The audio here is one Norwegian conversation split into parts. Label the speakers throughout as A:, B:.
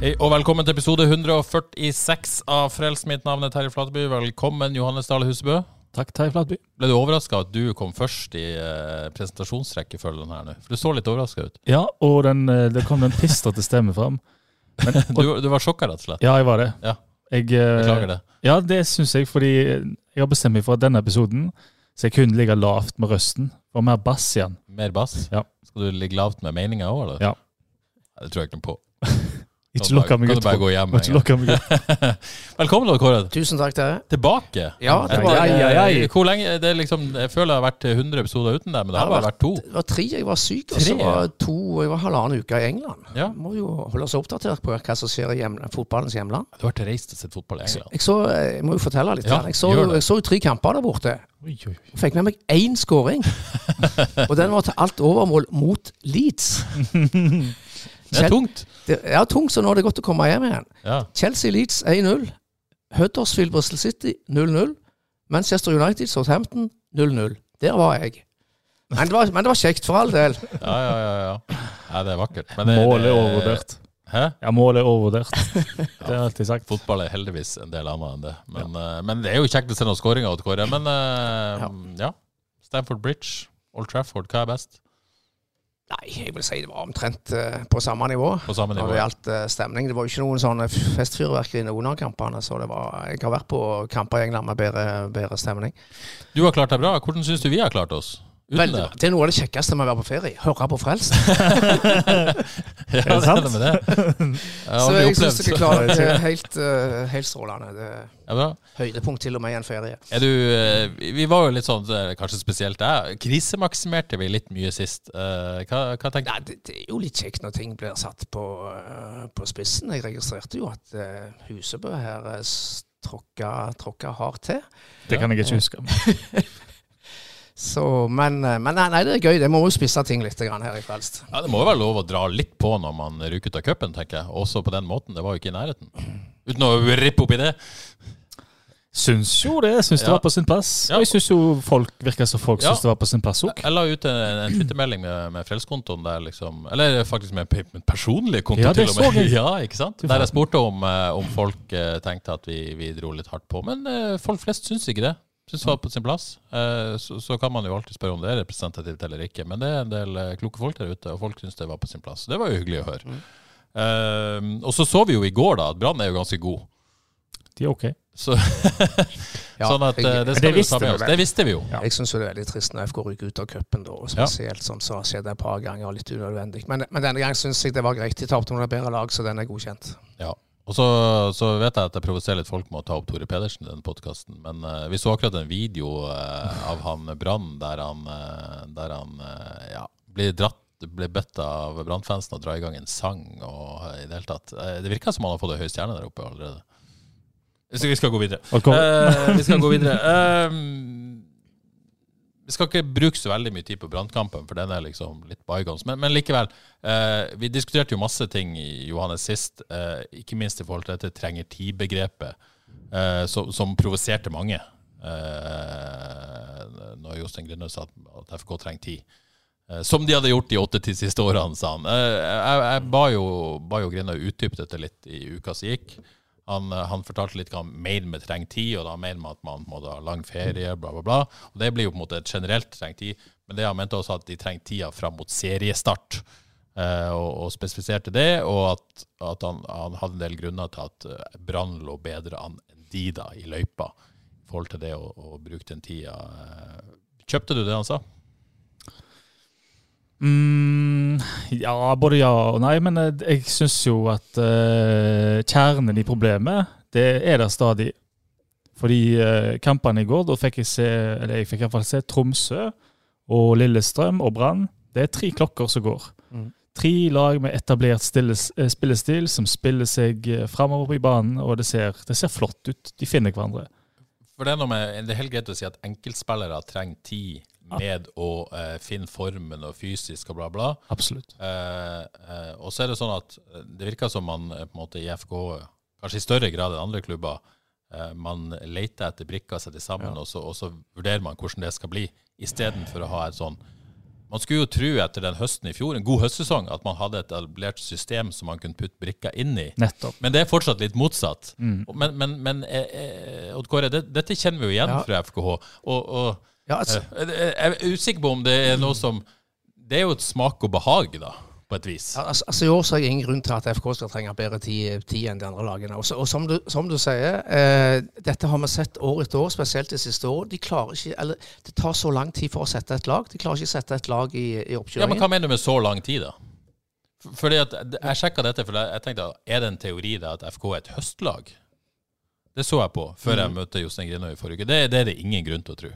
A: Hei og velkommen til episode 146 av Frels. Mitt navn er Terje Flateby. Velkommen, Johannes Dale Husebø.
B: Takk, Terje Flatby.
A: Ble du overraska at du kom først i eh, presentasjonsrekkefølgen her nå? For du så litt overraska ut.
B: Ja, og den, eh, det kom den pistete stemmen fram. Men,
A: Du,
B: og,
A: du var sjokka, rett og slett.
B: ja, jeg var det.
A: Ja.
B: Jeg, eh,
A: Beklager det.
B: Ja, det syns jeg, fordi jeg har bestemt meg for at denne episoden skal jeg kun ligge lavt med røsten. Og mer bass igjen.
A: Mer bass?
B: Ja.
A: Skal du ligge lavt med meninga òg, eller?
B: Ja.
A: Nei, Det tror jeg ikke noe på.
B: Ikke
A: Kan du
B: lokk
A: bare-
B: meg
A: kan
B: ut.
A: du bare gå hjem
B: Kan ikke
A: en gang?
B: lokke meg ut.
A: Velkommen, da, Kåre.
C: Tusen takk, dere.
A: Tilbake. Eh,
C: Ja, det var,
B: Ai, ai, ai.
A: Hvor lenge? Det er liksom, jeg føler det har vært 100 episoder uten deg, men det har bare vært to.
C: det var tre. Jeg var syk, og
A: Tre,
C: så
A: ja.
C: var det to, og jeg var halvannen uke i England.
A: Ja.
C: Må jo holde oss oppdatert på hva som skjer i hjem, fotballens hjemland.
A: Du har ikke reist og sett fotball i England?
C: Jeg, så, eh, jeg må jo fortelle litt.
A: Ja,
C: her. jeg, så,
A: gjør det.
C: jeg så jo tre kamper der borte.
B: Oi, oi, oi.
C: Fikk med meg én skåring. og den var til alt overmål mot Leeds.
A: Det er tungt.
C: Det er tungt, så nå er det godt å komme hjem igjen.
A: Ja.
C: Chelsea-Leeds 1-0. Huddersfield Bristol City 0-0. Manchester United Southampton 0-0. Der var jeg. Men det var, men det var kjekt, for all del.
A: Ja, ja, ja, ja. ja det er vakkert. Men det-
B: Målet
A: det-
B: er overvurdert.
A: Hæ?
B: Ja, målet er overvurdert. Det har jeg alltid sagt.
A: Fotball er heldigvis en del annet enn det. Men, eh, men det er jo kjekt å se noen skåringer til Kåre. Men eh, ja. Stamford Bridge, Old Trafford, hva er best?
C: Nei, jeg vil si det var omtrent eh, på samme nivå.
A: På samme
C: Når
A: nivå.
C: det gjaldt eh, stemning. Det var jo ikke noen sånne f- festfyrverkeri under kampene. Så det var, jeg har vært på kamper i England med bedre, bedre stemning.
A: Du har klart deg bra. Hvordan syns du vi har klart oss? Uten
C: Vel, det er noe av det kjekkeste med å være på ferie. Høre på Frelst.
A: det. Ja,
B: det
A: det
B: sant?
A: er det med det. Jeg har
C: Så
A: aldri
C: jeg syns
A: opplevd
C: dere
A: så.
C: klarer det helt, eh, helt strålende. Det er
A: Ja, bra.
C: høydepunkt til og med i en ferie.
A: Er du, eh, vi- vi var jo litt sånn, eh, kanskje spesielt deg, krisemaksimerte vi litt mye sist. Eh, Hva, hva tenkte
C: Nei, det, det er jo litt kjekt når ting blir satt på, eh, på spissen. Jeg registrerte jo at eh, Husebø her eh, s- tråkka tråkka hardt til.
B: Det kan jeg ikke huske.
C: Så, men eh, men nei, nei, det er gøy. Det må jo spisse ting litt grann her i Frelst.
A: Ja, Det må jo være lov å dra litt på når man ryker ut av cupen, tenker jeg. Også på den måten. Det var jo ikke i nærheten. Uten å rippe opp i det.
B: Syns jo det. Jeg syns det
A: Ja.
B: var på sin plass.
A: Ja.
B: Og jeg syns jo folk virker som folk
A: Ja.
B: syns det var på sin plass òg.
A: Jeg la ut en, en Twitter-melding med, med Frelseskontoen der, liksom. Eller faktisk med pe- med personlig konto,
B: Ja, det
A: til og med.
B: så jeg.
A: Ja, ikke sant? Der jeg spurte om, eh, om folk eh, tenkte at vi, vi dro litt hardt på. Men eh, folk flest syns ikke det. Syns det var på sin plass. Eh, så, så kan man jo alltid spørre om det er representativt eller ikke. Men det er en del eh, kloke folk der ute, og folk syns det var på sin plass. Det var jo hyggelig å høre.
B: Mm.
A: Eh, og så så vi jo i går da at Brann er jo ganske god.
B: De er ok.
A: Så, sånn at eh, det
B: Men
A: skal vi
B: det
A: jo ta
B: visste
A: med
B: vi
A: oss.
B: vel.
A: Det visste vi jo.
B: Ja.
C: Jeg syns det er veldig trist når FK ryker ut av cupen, da, og
A: Ja.
C: spesielt som så har skjedd et par ganger, litt unødvendig. Men, men denne gangen syns jeg det var greit. De tapte mot et bedre lag, så den er godkjent.
A: Ja. Og så, så vet jeg at jeg provoserer litt folk med å ta opp Tore Pedersen i den podkasten, men eh, vi så akkurat en video eh, av han Brann der han, eh, der han eh, ja, blir dratt blir bedt av Brann-fansen å dra i gang en sang og eh, i det hele tatt. Eh, det virker som han har fått ei høy stjerne der oppe allerede. Så vi skal gå videre.
B: Og kom,
A: Eh, vi skal gå videre. Ehm, vi skal ikke bruke så veldig mye tid på brannkampen, for den er liksom litt bygons. Men, men likevel. eh, vi diskuterte jo masse ting i Johannes sist, eh, ikke minst i forhold til dette trenger tid-begrepet, eh, som, som provoserte mange. eh, når Jostein Grinde sa at, at FK trenger tid. Eh, Som de hadde gjort de åtte-ti siste årene, sa han. Eh, Jeg, jeg ba jo, ba jo Grinde utdype dette litt i uka som gikk. Han, eh, han fortalte litt hva han mener med trengt tid, og da han mener med at man må ha lang ferie, bla, bla, bla. Og det blir jo på en måte et generelt trengt tid, men det han mente også at de trengte tida fram mot seriestart. eh, og, og spesifiserte det, og at, at han, han hadde en del grunner til at eh, Brann lå bedre an enn de da, i løypa, i forhold til det å, å bruke den tida. Eh, Kjøpte du det han sa?
B: Mm, ja, både ja og nei. Men eh, jeg syns jo at eh, kjernen i problemet, det er der stadig. Fordi eh, kampene i går, da fikk jeg se eller jeg fikk i hvert fall se Tromsø og Lillestrøm og Brann. Det er tre klokker som går.
C: Mm.
B: Tre lag med etablert stilles, eh, spillestil som spiller seg eh, framover på banen, og det ser, det ser flott ut. De finner hverandre.
A: For det er, noe med, det er helt greit å si at enkeltspillere trenger tid med å eh, finne formen og fysisk og bla, bla.
B: Absolutt.
A: Eh, eh, og så er det sånn at eh, det virker som man eh, på en måte i FK, kanskje i større grad enn andre klubber, eh, man leter etter brikker seg til sammen, og, så, og så vurderer man hvordan det skal bli, istedenfor å ha et sånn Man skulle jo tro etter den høsten i fjor, en god høstsesong, at man hadde et etablert system som man kunne putte brikker inn i.
B: Nettopp.
A: Men det er fortsatt litt motsatt.
C: Mm.
A: Men, men, men eh, eh, Odd Kåre, det, dette kjenner vi jo igjen
C: Ja.
A: fra FKH. Og, og
C: Ja, altså,
A: Eh, Jeg er usikker på om det er noe som Det er jo et smak og behag, da, på et vis.
C: Ja, altså, altså I år så er det ingen grunn til at FK skal trenge bedre tid, tid enn de andre lagene. Og, så, og som, du, som du sier, eh, dette har vi sett år etter år, spesielt det siste året. De klarer ikke, eller Det tar så lang tid for å sette et lag. De klarer ikke å sette et lag i, i
A: Ja, men
C: oppkjøringen.
A: Hva mener du med så lang tid, da? F- Fordi at Jeg sjekka dette, for jeg tenkte er det en teori da at FK er et høstlag? Det så jeg på før
C: Mm.
A: jeg møtte Jostein Grinøy i forrige uke. Det, det er det ingen grunn til å tro.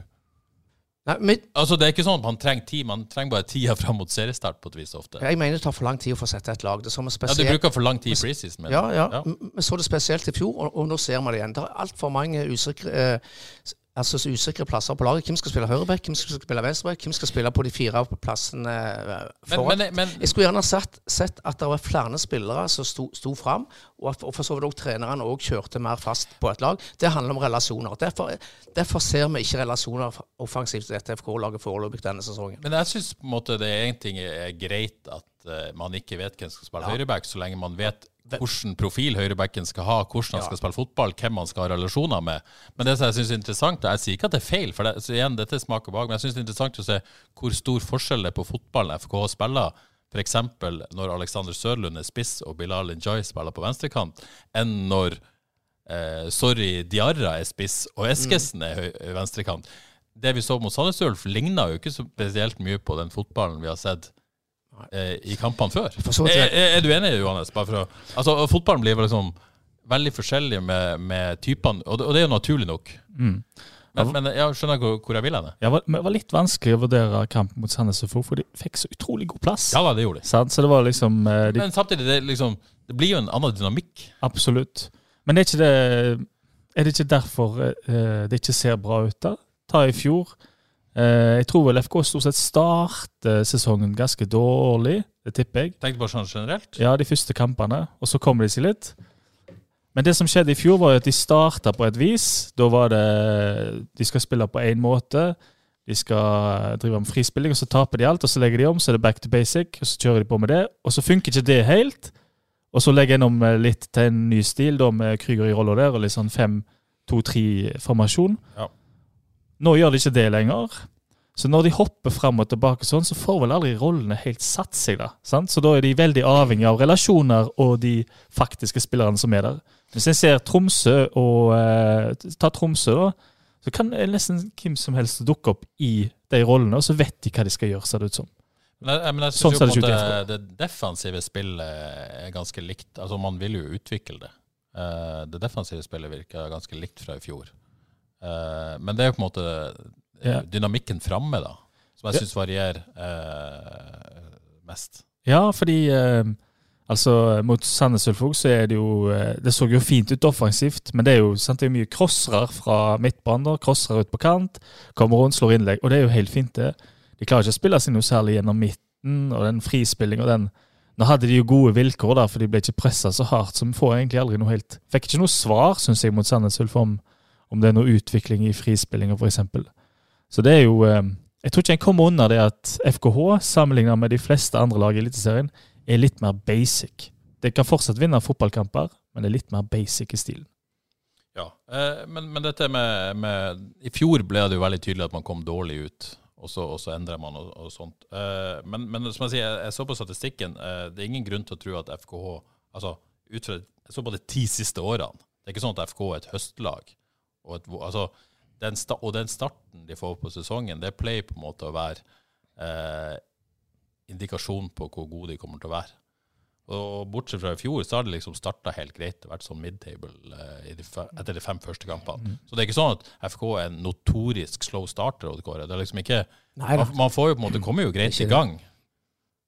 C: Nei, men
A: Altså, Det er ikke sånn at man trenger tid, man trenger bare tida fram mot seriestart på et vis ofte.
C: jeg mener det tar for lang tid å få sette et lag. Det er som er
A: Ja, Du
C: spesielt.
A: bruker for lang tid i preseason, mener
C: Ja,
A: du?
C: ja. M- Vi så det spesielt i fjor, og, og nå ser vi det igjen. Det er altfor mange usikre, eh, s- altså, så usikre plasser på laget. Hvem skal spille høyreback, hvem skal spille venstreback, hvem skal spille på de fire plassene eh,
A: Men,
C: foran?
A: men, men,
C: jeg skulle gjerne sett, sett at det var flere spillere som sto, sto fram, og at og for så vidt også treneren òg kjørte mer fast på et lag. Det handler om relasjoner. Derfor, derfor ser vi ikke relasjoner offensivt til dette FK-laget foreløpig denne sesongen.
A: Men jeg syns på en måte det er en ting er greit at eh, man ikke vet hvem som skal spille høyreback, så lenge man vet hvilken profil høyrebacken skal ha, hvordan han skal spille fotball, hvem han skal ha relasjoner med. Men det som jeg syns er interessant, og jeg sier ikke at det er feil, for det, så igjen, dette smaker behag, men jeg syns det er interessant å se hvor stor forskjell det er på fotballen FK spiller. F.eks. når Alexander Sørlund er spiss og Bilal Njay spiller på venstrekant, enn når eh, Sorry Diarra er spiss, og Eskesen er høy- venstrekant. Det vi så mot Sandnes Ulf, ligna jo ikke så spesielt mye på den fotballen vi har sett eh, i kampene før.
C: For så vidt-
A: Er, er, er du enig, Johannes? Bare for å, altså, og fotballen blir vel liksom veldig forskjellig med, med typene, og, det- og det er jo naturlig nok. Men, men jeg skjønner hvor, hvor jeg vil hen.
B: Mm. Ja, det var- men det var litt vanskelig å vurdere kampen mot Sandnes og FO, for de fikk så utrolig god plass.
A: Ja da, det gjorde de.
B: Sant? Så det var liksom eh, de,
A: Men samtidig, det, er liksom, det blir jo en annen dynamikk.
B: Absolutt. Men er, ikke det, er det ikke derfor eh, det ikke ser bra ut der? Ta i fjor. Eh, jeg tror vel FK stort sett starter sesongen ganske dårlig, det tipper jeg.
A: Tenk bare sånn generelt.
B: Ja, de første kampene, og så kommer de seg litt. Men det som skjedde i fjor, var jo at de starta på et vis. Da var det De skal spille på én måte. De skal drive med frispilling, og så taper de alt. Og så legger de om, så er det back to basic, og så kjører de på med det. Og så funker ikke det helt. Og så legger jeg gjennom litt til en ny stil, da med Krüger i rolla der, og litt sånn 5-2-3-formasjon.
A: Ja.
B: Nå gjør de ikke det lenger. Så når de hopper fram og tilbake sånn, så får vel aldri rollene helt satt seg, da. Sant? Så da er de veldig avhengig av relasjoner og de faktiske spillerne som er der. Hvis jeg ser Tromsø og eh, Ta Tromsø, da. Så kan nesten hvem som helst dukke opp i de rollene, og så vet de hva de skal gjøre, ser det ut som.
A: Men jeg, men jeg
B: Sånn
A: synes
B: ser
A: jo
B: det
A: på
B: ikke ut
A: en
B: i
A: måte det defensive spillet er ganske likt. Altså Man vil jo utvikle det. Eh, det defensive spillet virker ganske likt fra i fjor. Eh, men det er jo på en måte eh,
B: Ja.
A: dynamikken framme, da, som
B: Ja.
A: jeg syns varierer eh, mest.
B: Ja, fordi eh, altså mot Sandnes Ulf også, så er det jo eh, Det så jo fint ut offensivt, men det er jo sant, det er mye crossere fra midtbanen. da, Crossere ut på kant, kommer rundt, slår innlegg, og det er jo helt fint, det. De klarer ikke å spille seg noe særlig gjennom midten, og den frispillinga og den Nå hadde de jo gode vilkår, da, for de ble ikke pressa så hardt, så vi får egentlig aldri noe helt Fikk ikke noe svar, syns jeg, mot Sandnes Ulf om, om det er noe utvikling i frispillinga, f.eks. Så det er jo eh, Jeg tror ikke en kommer unna det at FKH, sammenlignet med de fleste andre lag i Eliteserien, er litt mer basic. De kan fortsatt vinne fotballkamper, men det er litt mer basic i stilen.
A: Ja, eh, men, men dette med, med I fjor ble det jo veldig tydelig at man kom dårlig ut, og så, og så endrer man og, og sånt. Eh, men, men som jeg sier, jeg, jeg så på statistikken. Eh, det er ingen grunn til å tro at FKH altså ut fra, Jeg så på de ti siste årene. Det er ikke sånn at FK er et høstlag. Og, et, vo- altså, den, sta- og den starten de får på sesongen, det pleier på en måte å være eh, indikasjon på hvor gode de kommer til å være. Og bortsett fra i fjor, så har det liksom starta helt greit. Det har vært sånn midtable eh, i de fe- etter de fem første
C: Mm.
A: kampene. Så det er ikke sånn at FK er en notorisk slow starter. Odd Kåre. Det er liksom ikke,
C: Nei, da.
A: man, man får jo på en måte kommer jo greit i gang.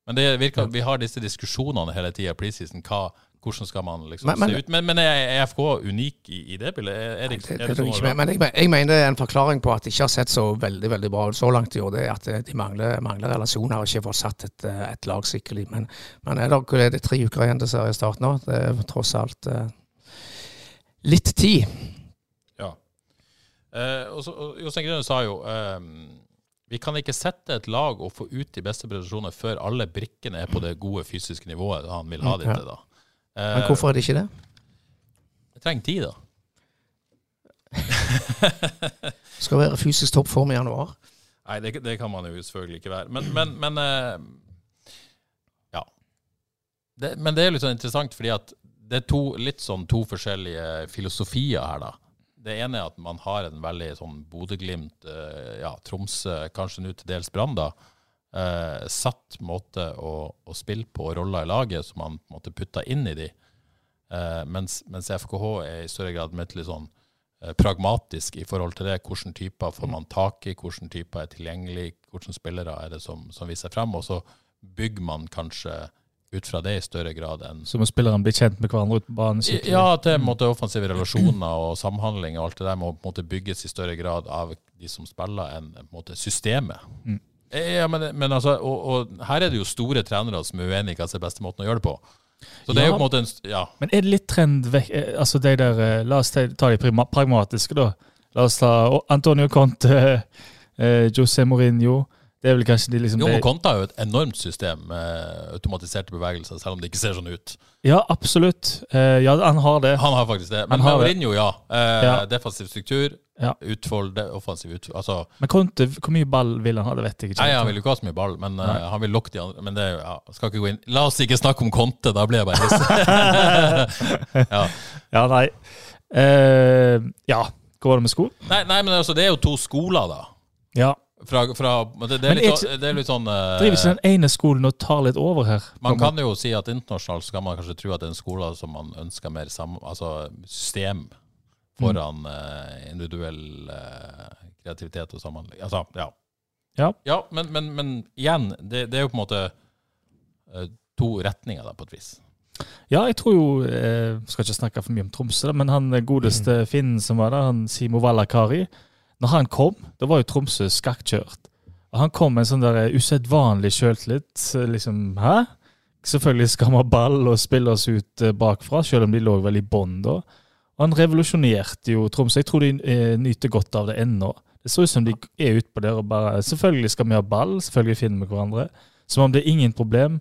A: Men det virker at vi har disse diskusjonene hele tida. Preseason, hva, hvordan skal man liksom
C: Men- men-
A: se ut? Men, men er FK unik i, i det bildet? Er, er det,
C: Det,
A: er
C: det,
A: det
C: tror jeg
A: sånn
C: ikke, men- men jeg, men- jeg mener det er en forklaring på at de ikke har sett så veldig veldig bra ut så langt i år. Det er at eh, de mangler, mangler relasjoner og ikke får satt et, eh, et lag skikkelig. Men, men er det, er det tre uker igjen til seriestart nå? Det er tross alt eh, litt tid.
A: Ja. Eh, og så, og Jostein Grønne sa jo ehm, vi kan ikke sette et lag og få ut de beste prestasjonene før alle brikkene er på det gode fysiske nivået han vil ha de
C: Ja.
A: til. da.
C: Men
A: Eh,
C: hvorfor er det ikke det?
A: Jeg trenger tid, da.
C: Skal være fysisk toppform i januar.
A: Nei, det, det kan man jo selvfølgelig ikke være. Men, men, men eh, Ja. Det, men det er litt sånn interessant, fordi at det er to, litt sånn to forskjellige filosofier her, da. Det ene er at man har en veldig sånn Bodø-Glimt, eh, ja, Tromsø, kanskje nå til dels Brann, da. Eh, satt måte å, å spille på og roller i laget som man på en måte putta inn i de. Eh, mens, mens FKH er i større grad med til litt sånn eh, pragmatisk i forhold til det. Hvilke typer får man tak i, hvilke typer er tilgjengelig, hvilke spillere er det som, som viser frem. Og så bygger man kanskje ut fra det i større grad enn
B: Så må spillerne bli kjent med hverandre ute på banen. skikkelig.
A: ja, at det er på en måte offensive relasjoner og samhandling og alt det der må på en måte bygges i større grad av de som spiller, enn på en måte systemet.
B: Mm.
A: Ja, men, men altså, og, og her er det jo store trenere som er uenige i hva som er beste måten å gjøre det på. Så det er jo på en måte en st- Ja.
B: Men er det litt trend vekk eh, Altså de der eh, La oss ta ta de prima- pragmatiske, da. La oss ta oh, Antonio Conte, eh, José Mourinho. Det er vel kanskje de liksom
A: Jo,
B: de,
A: men Konta har jo et enormt system med automatiserte bevegelser, selv om det ikke ser sånn ut.
B: Ja, absolutt. Eh, ja, han har det.
A: Han har faktisk det. Men
B: Han har det.
A: Mourinho, ja. Eh,
B: Ja.
A: Defensiv struktur,
B: Ja.
A: utfold, de- offensiv utfold. Altså,
B: Men Conte, hvor mye ball vil han ha? Det vet jeg ikke.
A: nei, han vil jo ikke ha så mye ball, men eh, han vil lokke de andre. Men det er jo, ja, skal ikke gå inn. La oss ikke snakke om Conte, da blir jeg bare hissig. ja.
B: Ja, nei. Eh, ja. Går det med sko?
A: nei, nei, men altså, det er jo to skoler, da.
B: Ja.
A: Fra, fra, men det, det,
B: Men
A: er litt,
B: er
A: sånn- det er litt sånn eh,
B: Driver ikke den ene skolen og tar litt over her?
A: Man kan jo si at internasjonalt så kan man kanskje tro at det er en skole som man ønsker mer sam altså system foran
B: Mm.
A: eh, individuell eh, kreativitet og samhandling. Altså, ja.
B: Ja.
A: ja men, men, men igjen, det, det er jo på en måte eh, to retninger da, på et vis.
B: Ja, jeg tror jo eh, Skal ikke snakke for mye om Tromsø, da, men han eh, godeste
A: Mm.
B: finnen som var der, han Simo Valakari Når han kom, da var jo Tromsø skakkjørt. Og han kom med en sånn der eh, usedvanlig sjøltillit. så Liksom Hæ? Selvfølgelig skal vi ha ball og spille oss ut eh, bakfra, selv om de lå vel i bånn da. Og han revolusjonerte jo Tromsø. Jeg tror de eh, nyter godt av det ennå. Det ser ut som de er utpå der og bare Selvfølgelig skal vi ha ball, selvfølgelig finner vi hverandre. Som om det er ingen problem.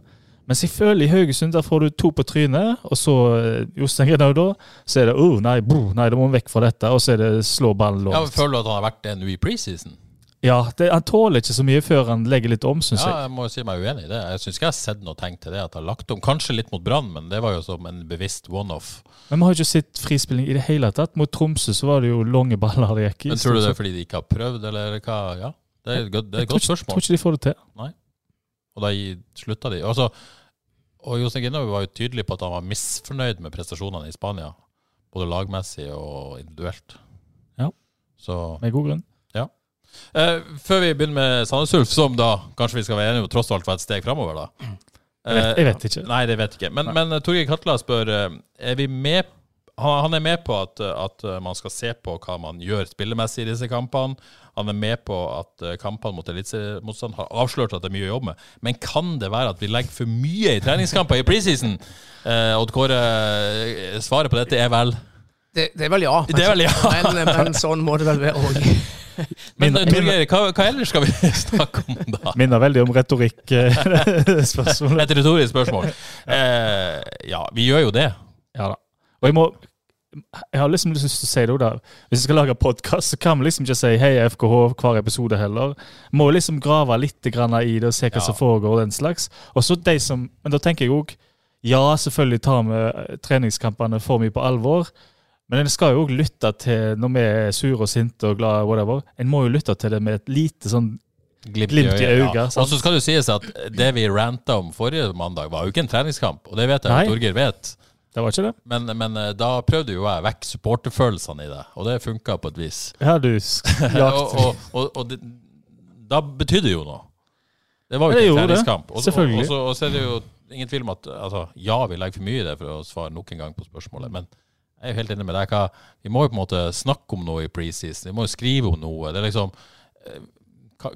B: Mens jeg føler i Haugesund der får du to på trynet, og så eh, Jostein Grenhaug da, så er det oh, nei, bro, nei, da må vi vekk fra dette, og så er det slå ballen
A: Ja, men
B: lågt.
A: føler du at han har vært det nå i preseason?
B: Ja, det, han tåler ikke så mye før han legger litt om, syns
A: Ja, jeg må jo si meg uenig i det. Jeg syns ikke jeg har sett noe tegn til det. at han har lagt om. Kanskje litt mot Brann, men det var jo som en bevisst one-off.
B: jeg. Men vi har ikke sett frispilling i det hele tatt. Mot Tromsø så var det jo lange baller det gikk i.
A: Men tror du det er fordi de ikke har prøvd, eller hva? Ja, det er et godt, det er
B: Jeg
A: et
B: tror
A: godt
B: ikke-
A: spørsmål.
B: Tror ikke de får det til.
A: Og da gi- slutta de. Altså, og Jostein Grinaud var jo tydelig på at han var misfornøyd med prestasjonene i Spania. Både lagmessig og individuelt.
B: Ja.
A: Så,
B: Med god grunn.
A: eh, før vi begynner med Sandnes Ulf, som da kanskje vi skal være enige om tross alt var et steg framover, da.
B: Jeg vet, jeg vet
A: Eh,
B: ikke.
A: Nei, det vet jeg ikke. Men, men Torgeir Katla spør eh, er vi med han, han er med på at, eh, at eh, man skal se på hva man gjør spillemessig i disse kampene. Han er med på at eh, kampene mot eliteseriemotstand har avslørt at det er mye å jobbe med. Men kan det være at vi legger for mye i treningskamper i preseason? Eh, Odd Kåre, eh, svaret på dette er vel
C: Det, det er vel ja.
A: Det er vel ja.
C: Men, men sånn må det vel være òg.
A: Men
B: Min-
A: eh, Torgeir, hva, hva ellers skal vi snakke om da?
B: Minner veldig om retorikk, eh, det spørsmålet.
A: Et retorisk spørsmål. Eh, ja, vi gjør jo det.
B: Ja da. Og jeg må jeg har liksom lyst til å si det også da. Hvis vi skal lage podkast, så kan vi liksom ikke si hei FKH hver episode heller. Må liksom grave litt grann i det og se hva
A: Ja.
B: som foregår og den slags. Og så de som, Men da tenker jeg òg ja, selvfølgelig tar vi eh, treningskampene for mye på alvor. Men en skal jo òg lytte til når vi er sure og sinte og glade. whatever. En må jo lytte til det med et lite sånn
A: Glimt i
B: Glimt i
A: øyet, ja.
B: øyet, sant?
A: Og så skal det jo sies at det vi ranta om forrige mandag, var jo ikke en treningskamp. Og det vet jeg
B: Nei.
A: at Torgeir vet.
B: Det var ikke det?
A: Men, men eh, da prøvde jo jeg vekk supporterfølelsene i det, og det funka på et vis.
B: Ja, du s-
A: og
B: jakt.
A: og, og, og det, da betydde det jo noe. Det var jo
B: Ja, det
A: ikke en
B: gjorde det.
A: treningskamp. Og, og,
B: Selvfølgelig.
A: og, så, og så er det jo ingen tvil om at altså, ja, vi legger for mye i det for å svare nok en gang på spørsmålet. Men jeg er jo helt enig med deg. Hva, vi må jo på en måte snakke om noe i preseason. Vi må jo skrive om noe. Det er liksom eh, hva-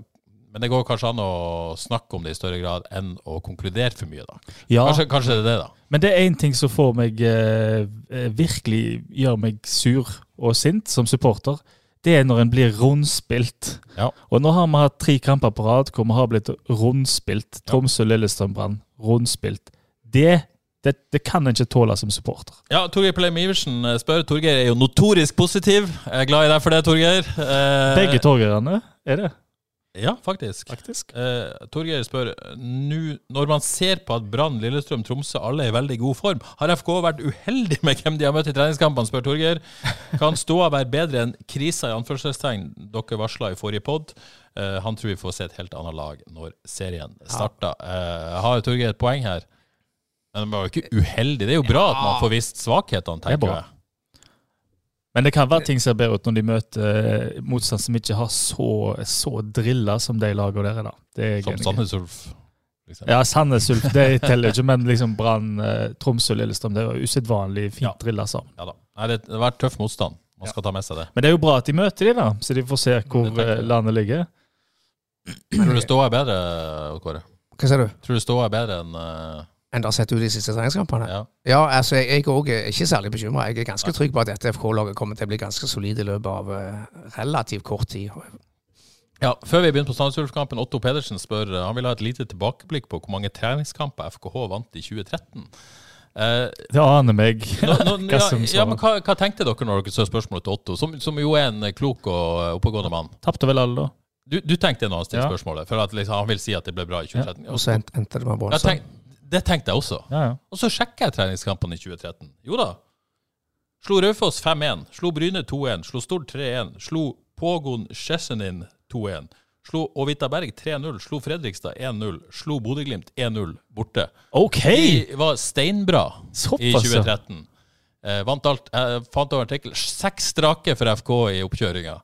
A: men det går kanskje an å snakke om det i større grad enn å konkludere for mye, da.
B: Ja,
A: Kanskje, kanskje det er det, da.
B: men det er én ting som får meg eh, eh, virkelig gjør meg sur og sint som supporter. Det er når en blir rundspilt.
A: Ja.
B: Og nå har vi hatt tre kamper på rad hvor vi har blitt rundspilt. Tromsø, Lillestrøm, Brann. Rundspilt. Det, det, det kan en ikke tåle som supporter.
A: Ja, Torgeir Pleim Iversen eh, spør. Torgeir er jo notorisk positiv. Jeg er glad i deg for det, Torgeir. Eh,
B: Begge torgerne er det,
A: Ja, faktisk.
B: faktisk.
A: Eh, Torgeir spør nå når man ser på at Brann, Lillestrøm, Tromsø alle er i veldig god form, har FK vært uheldig med hvem de har møtt i treningskampene, spør Torgeir. Kan ståa være bedre enn krisa i anførselstegn dere varsla i forrige pod? Eh, han tror vi får se et helt annet lag når serien starter. Eh, har Torgeir et poeng her? Men det var jo ikke uheldig. Det er jo bra at man får vist svakhetene,
B: Det er bra.
A: tenker jeg.
B: Men det kan
A: Eh.
B: være ting som er bedre ut når de møter eh, motstand som ikke har så, så drilla som de lagene der er, da. Det er jeg
A: Som
B: enig i.
A: Sandnes Ulf. liksom.
B: Ja, Sandnes Ulf, det teller ikke, men liksom Brann, eh, Tromsø, Lillestrøm, det var usedvanlig fint
A: Ja.
B: drilla sammen.
A: Ja da. Nei, det det har vært tøff motstand. Man skal ta med seg det.
B: Men det er jo bra at de møter de, da, så de får se hvor
A: Det tenker jeg.
B: eh, landet ligger.
A: Tror du ståa er bedre, Kåre?
C: Hva sier du?
A: Tror du ståa er bedre enn eh,
C: Enn det har sett ut de siste treningskampene?
A: Ja.
C: Ja, altså jeg, jeg også er ikke særlig bekymra. Jeg er ganske trygg på at dette FK-laget kommer til å bli ganske solid i løpet av eh, relativt kort tid.
A: ja. Før vi begynner på Sandnes Ulf-kampen, Otto Pedersen spør eh, Han vil ha et lite tilbakeblikk på hvor mange treningskamper FKH vant i 2013. Eh,
B: Det aner meg.
A: nå, nå,
B: Hva
A: ja,
B: som sa
A: ja,
B: han?
A: men hva, hva tenkte dere når dere så spørsmålet til Otto, som, som jo er en eh, klok og eh, oppegående mann?
B: Tapte vel alle, da.
A: Du, du tenkte når han stilte
B: Ja.
A: spørsmålet, for at liksom, han vil si at det ble bra i 2013.
C: Og så endte det med sånn.
A: Ja,
C: Bronsa.
A: tenk, det tenkte jeg også.
B: Ja, ja.
A: Og så sjekka jeg treningskampene i 2013. Jo da. Slo Raufoss 5-1. Slo Bryne 2-1. Slo Stord 3-1. Slo Pågon Sjesenin 2-1. Slo Åvita Berg 3-0. Slo Fredrikstad 1-0. Slo Bodø-Glimt 1-0 borte.
B: OK!
A: De var steinbra i
B: Såpass, ja.
A: 2013. Eh, vant alt, eh, fant over artikkel. Seks strake for FK i oppkjøringa.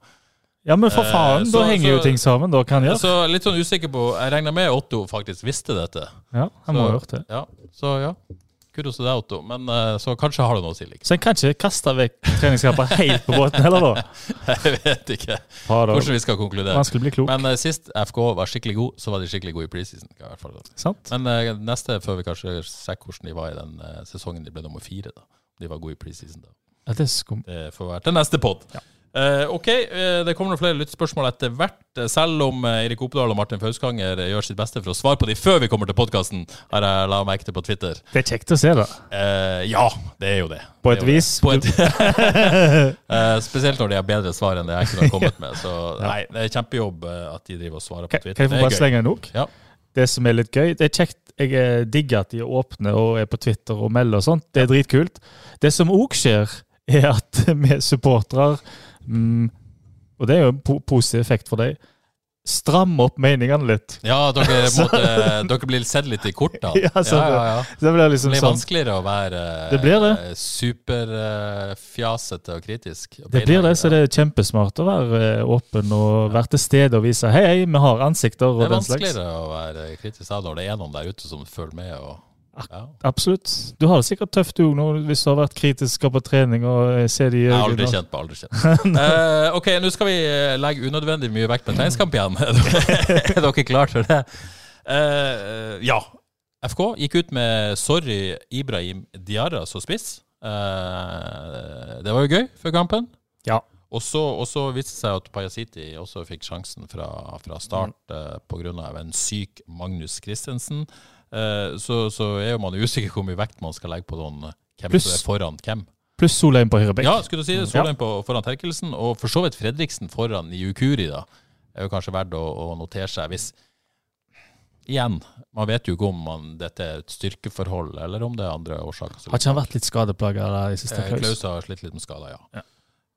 B: Ja, men for
A: Eh,
B: faen,
A: så-
B: da henger jo
A: så-
B: ting sammen, da, kan jeg.
A: Så litt sånn usikker på Jeg regner med Otto faktisk visste dette.
B: Ja, han
A: så-
B: må ha hørt det.
A: Ja, så ja. Kudos til deg, Otto. Men eh, så kanskje har det noe å si liksom. likevel.
B: Så en kan ikke kaste vekk treningskamper helt på båten heller, da.
A: Jeg vet ikke
B: Fader,
A: hvordan vi skal konkludere.
B: Vanskelig å bli klok,
A: Men eh, sist FK var skikkelig god, så var de skikkelig gode i preseason. kan jeg i hvert fall si.
B: sant?
A: Men eh, neste før vi kanskje sjekker hvordan de var i den eh, sesongen de ble nummer fire. da. De var gode i preseason da.
B: Ja, det er skum.
A: Det får være til neste pod. Eh, ok, eh, Det kommer noen flere lyttespørsmål etter hvert. eh, Selv om eh, Erik Opedal og Martin Fauskanger eh, gjør sitt beste for å svare på de før vi kommer til podkasten, har jeg la merke til på Twitter.
B: Det er kjekt å se, da.
A: Eh, ja, det er jo det.
B: På
A: Det er
B: et
A: jo det.
B: vis.
A: På et, Eh, spesielt når de har bedre svar enn det jeg kunne ha kommet med. Så nei, det er kjempejobb eh, at de driver og svarer på
B: Kan,
A: Twitter.
B: kan jeg få
A: Det er
B: bare
A: gøy.
B: slenge en ok?
A: Ja.
B: Det som er litt gøy Det er kjekt. Jeg eh, digger at de er åpne og er på Twitter og melder og sånt. Det er dritkult. Det som òg skjer, er at vi supportere mm, Og det er jo en po positiv effekt for deg. Strammer opp meningene litt.
A: Ja, dere, måtte, dere blir sett litt i kortene.
B: Ja, så
A: ja, ja, ja.
B: Så det blir
A: Det
B: liksom
A: blir
B: sånn
A: vanskeligere å være eh,
B: Det blir det.
A: eh, superfjasete og kritisk.
B: Det blir det, så det er kjempesmart å være eh, åpen og være til stede og vise hei, hei, vi har ansikter og
A: Det er
B: den slags.
A: vanskeligere å være kritisk da, når det er noen der ute som følger med. Og, ja.
B: Absolutt. Du har det sikkert tøft du òg nå hvis du har vært kritisk på trening og eh, ser de i
A: Jeg har aldri
B: øynene.
A: kjent på aldri kjent. Eh, ok, nå skal vi eh, legge unødvendig mye vekt på treningskamp igjen. er dere- er dere klare for det? Eh, ja. FK gikk ut med 'sorry, Ibrahim Diarra så spiss'. Eh, det var jo gøy før kampen.
B: Ja.
A: Og så, og så viste det seg at Pajasiti også fikk sjansen fra, fra start
B: Mm.
A: eh, på grunn pga. en syk Magnus Christensen. Eh, så, så er jo man usikker hvor mye vekt man skal legge på noen hvem som
B: Pluss-
A: er foran hvem.
B: Pluss Solheim på høyre bekk.
A: Ja, skulle du si det. Solheim på, foran Terkelsen, og for så vidt Fredriksen foran Yukuri, da. Er jo kanskje verdt å, å notere seg hvis Igjen, man vet jo ikke om man, dette er et styrkeforhold, eller om det er andre årsaker.
B: Har ikke han vært litt skadeplaga i siste
A: Eh,
B: klaus?
A: Klaus har slitt litt med skader, ja.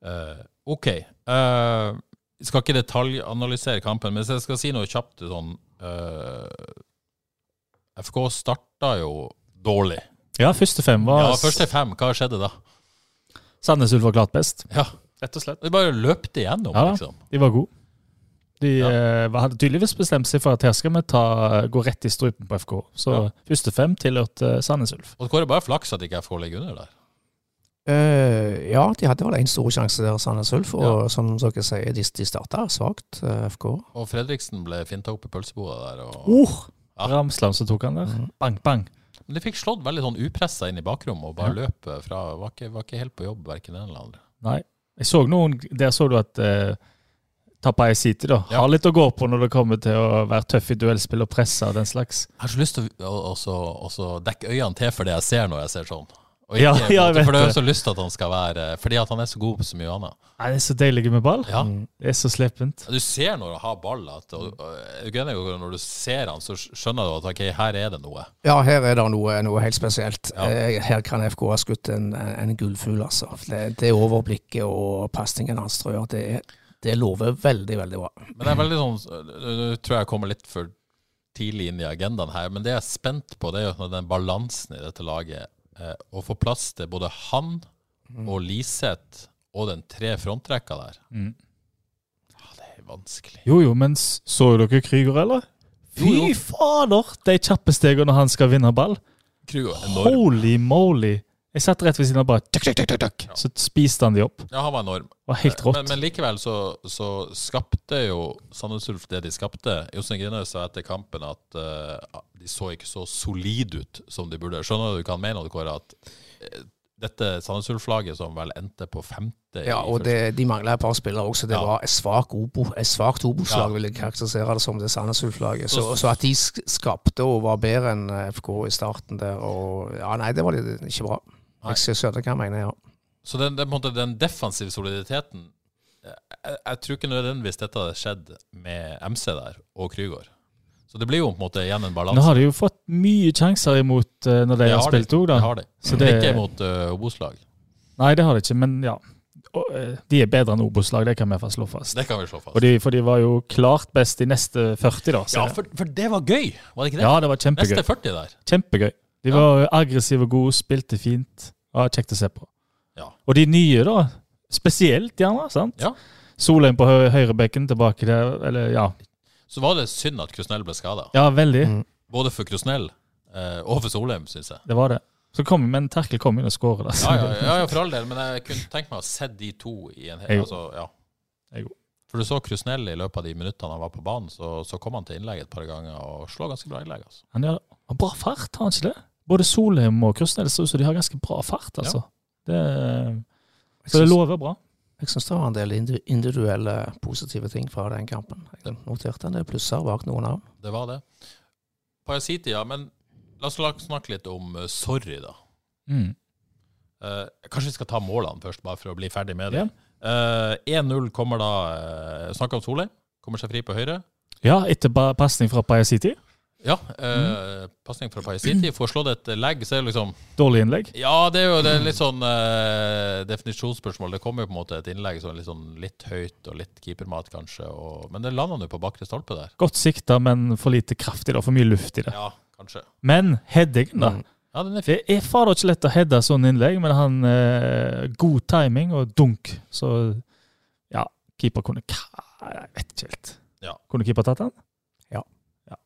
A: Eh, ok. Eh, Jeg skal ikke detaljanalysere kampen, men hvis jeg skal si noe kjapt sånn eh, FK starta jo dårlig.
B: Ja, første fem var
A: Ja, første fem, hva skjedde da?
B: Sandnes Ulf var klart best.
A: Ja,
B: Rett og slett.
A: De bare løpte igjennom,
B: Ja da.
A: liksom.
B: De var gode. De
A: Ja.
B: eh, var- hadde tydeligvis bestemt seg for at her skal vi ta, eh, gå rett i strupen på FK. Så
A: Ja.
B: første fem tilhørte eh, Sandnes Ulf.
A: Og Kåre, bare flaks at ikke FK ligger under der.
C: Eh, ja, de hadde vel én stor sjanse der, Sandnes Ulf. Og som dere sier, de, de starta svakt, eh, FK.
A: Og Fredriksen ble finta opp i pølseboda der. Og...
B: Oh!
A: Ja. Mhm.
B: Ramsland som tok han der. Bang, bang.
A: Men de fikk slått veldig sånn upressa inn i bakrommet og bare
B: Ja.
A: løp eh, fra var ikke, var ikke helt på jobb, verken den eller andre.
B: Nei. Jeg så noen, der så du at eh, Tapai City da,
A: Ja.
B: har litt å gå på når det kommer til å være tøff i duellspill og presse og den slags.
A: Jeg har så lyst til å, å, å, så- å så dekke øynene til for det jeg ser når jeg ser sånn. Og ikke,
B: Ja, ja, jeg vet
A: for det har
B: det.
A: jeg så lyst til at han skal være Fordi at han er så god på så mye annet.
B: Nei, det er så deilig med ball. Mm.
A: Ja.
B: Det er så sleppent.
A: Du ser når han har ball at og, og, jeg er enig i at Når du ser han, så skjønner du at ok, her er det noe.
C: Ja, her er det noe, noe helt spesielt.
A: Ja.
C: Eh, Her kan FK ha skutt en, en gullfugl, altså. Det, det overblikket og pasningen hans, tror jeg, det, er- det lover veldig, veldig bra.
A: Men det er veldig sånn Nå tror jeg jeg kommer litt for tidlig inn i agendaen her, men det jeg er spent på, det er jo sånn den balansen i dette laget. Eh, å få plass til både han og Liseth og den tre frontrekka der.
B: Mm.
A: Ja, det er vanskelig.
B: Jo, jo, men s- så dere Krüger, eller? Fy
A: Jo, jo.
B: fader! De kjappe stegene når han skal vinne ball.
A: Krug var enorm.
B: Holy moly! Jeg satt rett ved siden av bare tjekk, tjekk, tjekk, tjekk, tjekk. Så spiste han de opp.
A: Ja, han var enorm.
B: Det var helt rått.
A: Men, men likevel så, så skapte jo Sandnes Ulf det de skapte. Jostein Grinhaug sa etter kampen at eh, de så ikke så solide ut som de burde. Skjønner du hva han mener, Kåre? At eh, dette Sandnes Ulf-laget som vel endte på femte
C: Ja, og det, de mangla et par spillere også. Det
A: Ja.
C: var et svak obo, et svakt Obos-lag,
A: Ja.
C: vil jeg karakterisere det som, det Sandnes Ulf-laget. Så,
A: Så-
C: så at de sk- skapte og var bedre enn eh, FK i starten der, og Ja, nei, det var litt, ikke bra.
A: Nei.
C: Jeg skjønner hva jeg mener, ja.
A: Så den, den, på en måte, den defensive soliditeten eh, jeg, jeg tror ikke nødvendigvis dette hadde skjedd med MC der og Krygård. Så det blir jo på en måte igjen en
B: Nå
A: balanse.
B: har de jo fått mye sjanser imot eh, når de
A: Det
B: har
A: har de.
B: spilt òg, da.
A: Det har de.
B: Så
A: Men
B: det-
A: Ikke mot uh, Obos-lag.
B: Nei, det har de ikke, men ja. Og, eh, de er bedre enn Obos-lag, det kan vi i hvert fall slå fast.
A: Det kan vi slå fast.
B: Og de, for de var jo klart best i neste 40, da.
A: ja,
B: ser jeg.
A: for, for det var gøy, var det ikke det?
B: ja, det var kjempegøy.
A: Neste 40 der.
B: Kjempegøy. De
A: Ja.
B: var aggressive og gode, spilte fint. Ja, kjekt å se på.
A: Ja.
B: Og de nye, da. Spesielt, gjerne. sant?
A: Ja.
B: Solheim på hø høyrebekken tilbake der. Eller, ja.
A: Så var det synd at Krusnell ble skada.
B: ja, veldig.
C: Mm.
A: Både for Krusnell eh, og for Solheim, syns jeg.
B: Det var det. Så kom, men Terkel kom inn og skåret.
A: Ja,
B: da, så
A: ja, ja, ja, for all del, men jeg kunne tenkt meg å se de to i en hel
B: Jeg
A: altså, ja.
B: Jeg òg.
A: For du så Krusnell i løpet av de minuttene han var på banen, så, så kom han til innlegg et par ganger og slår ganske bra innlegg. altså.
B: Han gjør han har bra fart, har han ikke det? Både Solheim og Krusnell ser ut som de har ganske bra fart, altså. Det,
C: Jeg
B: så det
C: syns-
B: lover bra.
C: Jeg syns det var en del indi- individuelle positive ting fra den kampen. Jeg noterte en del plusser bak noen navn.
A: Det var det. Parasiti, ja, men la oss la- snakke litt om eh, sorry, da.
B: Mm.
A: Eh, kanskje vi skal ta målene først, bare for å bli ferdig med det.
B: Ja.
A: Eh, 1-0 kommer da uh, Snakka om Solheim. Kommer seg fri på høyre.
B: Ja, etter ba- pasning fra Paya City.
A: Ja. Uh, Pasning fra Parasiti. Får slått et legg, så er det liksom
B: Dårlig innlegg.
A: Ja, det er jo det er litt sånn eh, definisjonsspørsmål. Det kommer jo på en måte et innlegg sånn litt, sånn litt høyt og litt keepermat, kanskje. Og, men det landa nå på bakre stolpe der.
B: Godt sikta, men for lite kraft i det, og for mye luft i det.
A: Ja, kanskje.
B: Men headingen,
C: Mm.
B: da.
A: Ja, den er fin.
B: Det er fader ikke lett å heade sånn innlegg, men han eh, god timing og dunk. Så ja, keeper kunne ka- Jeg vet ikke helt.
A: Ja.
B: Kunne keeper tatt den?
C: Ja.
B: Ja.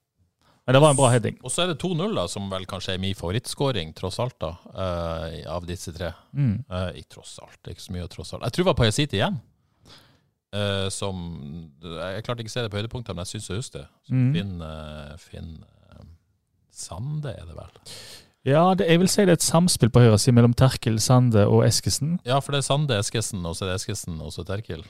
B: Men det var en bra heading.
A: Og så er det 2-0, da, som vel kanskje er min favorittskåring, tross alt, da, eh, av disse tre.
B: Mm.
A: Eh, ikke tross alt, det er ikke så mye å tross alt. Jeg tror det var Pajasiti igjen. eh, som Jeg klarte ikke å se det på høydepunktet, men jeg syns jeg husker det.
B: Mm.
A: Finn, eh, Finn eh, Sande, er det vel?
B: Ja, det, jeg vil si det er et samspill på høyre side mellom Terkel, Sande og Eskesen.
A: Ja, for det er Sande, Eskesen, og så er det Eskesen og så Terkil.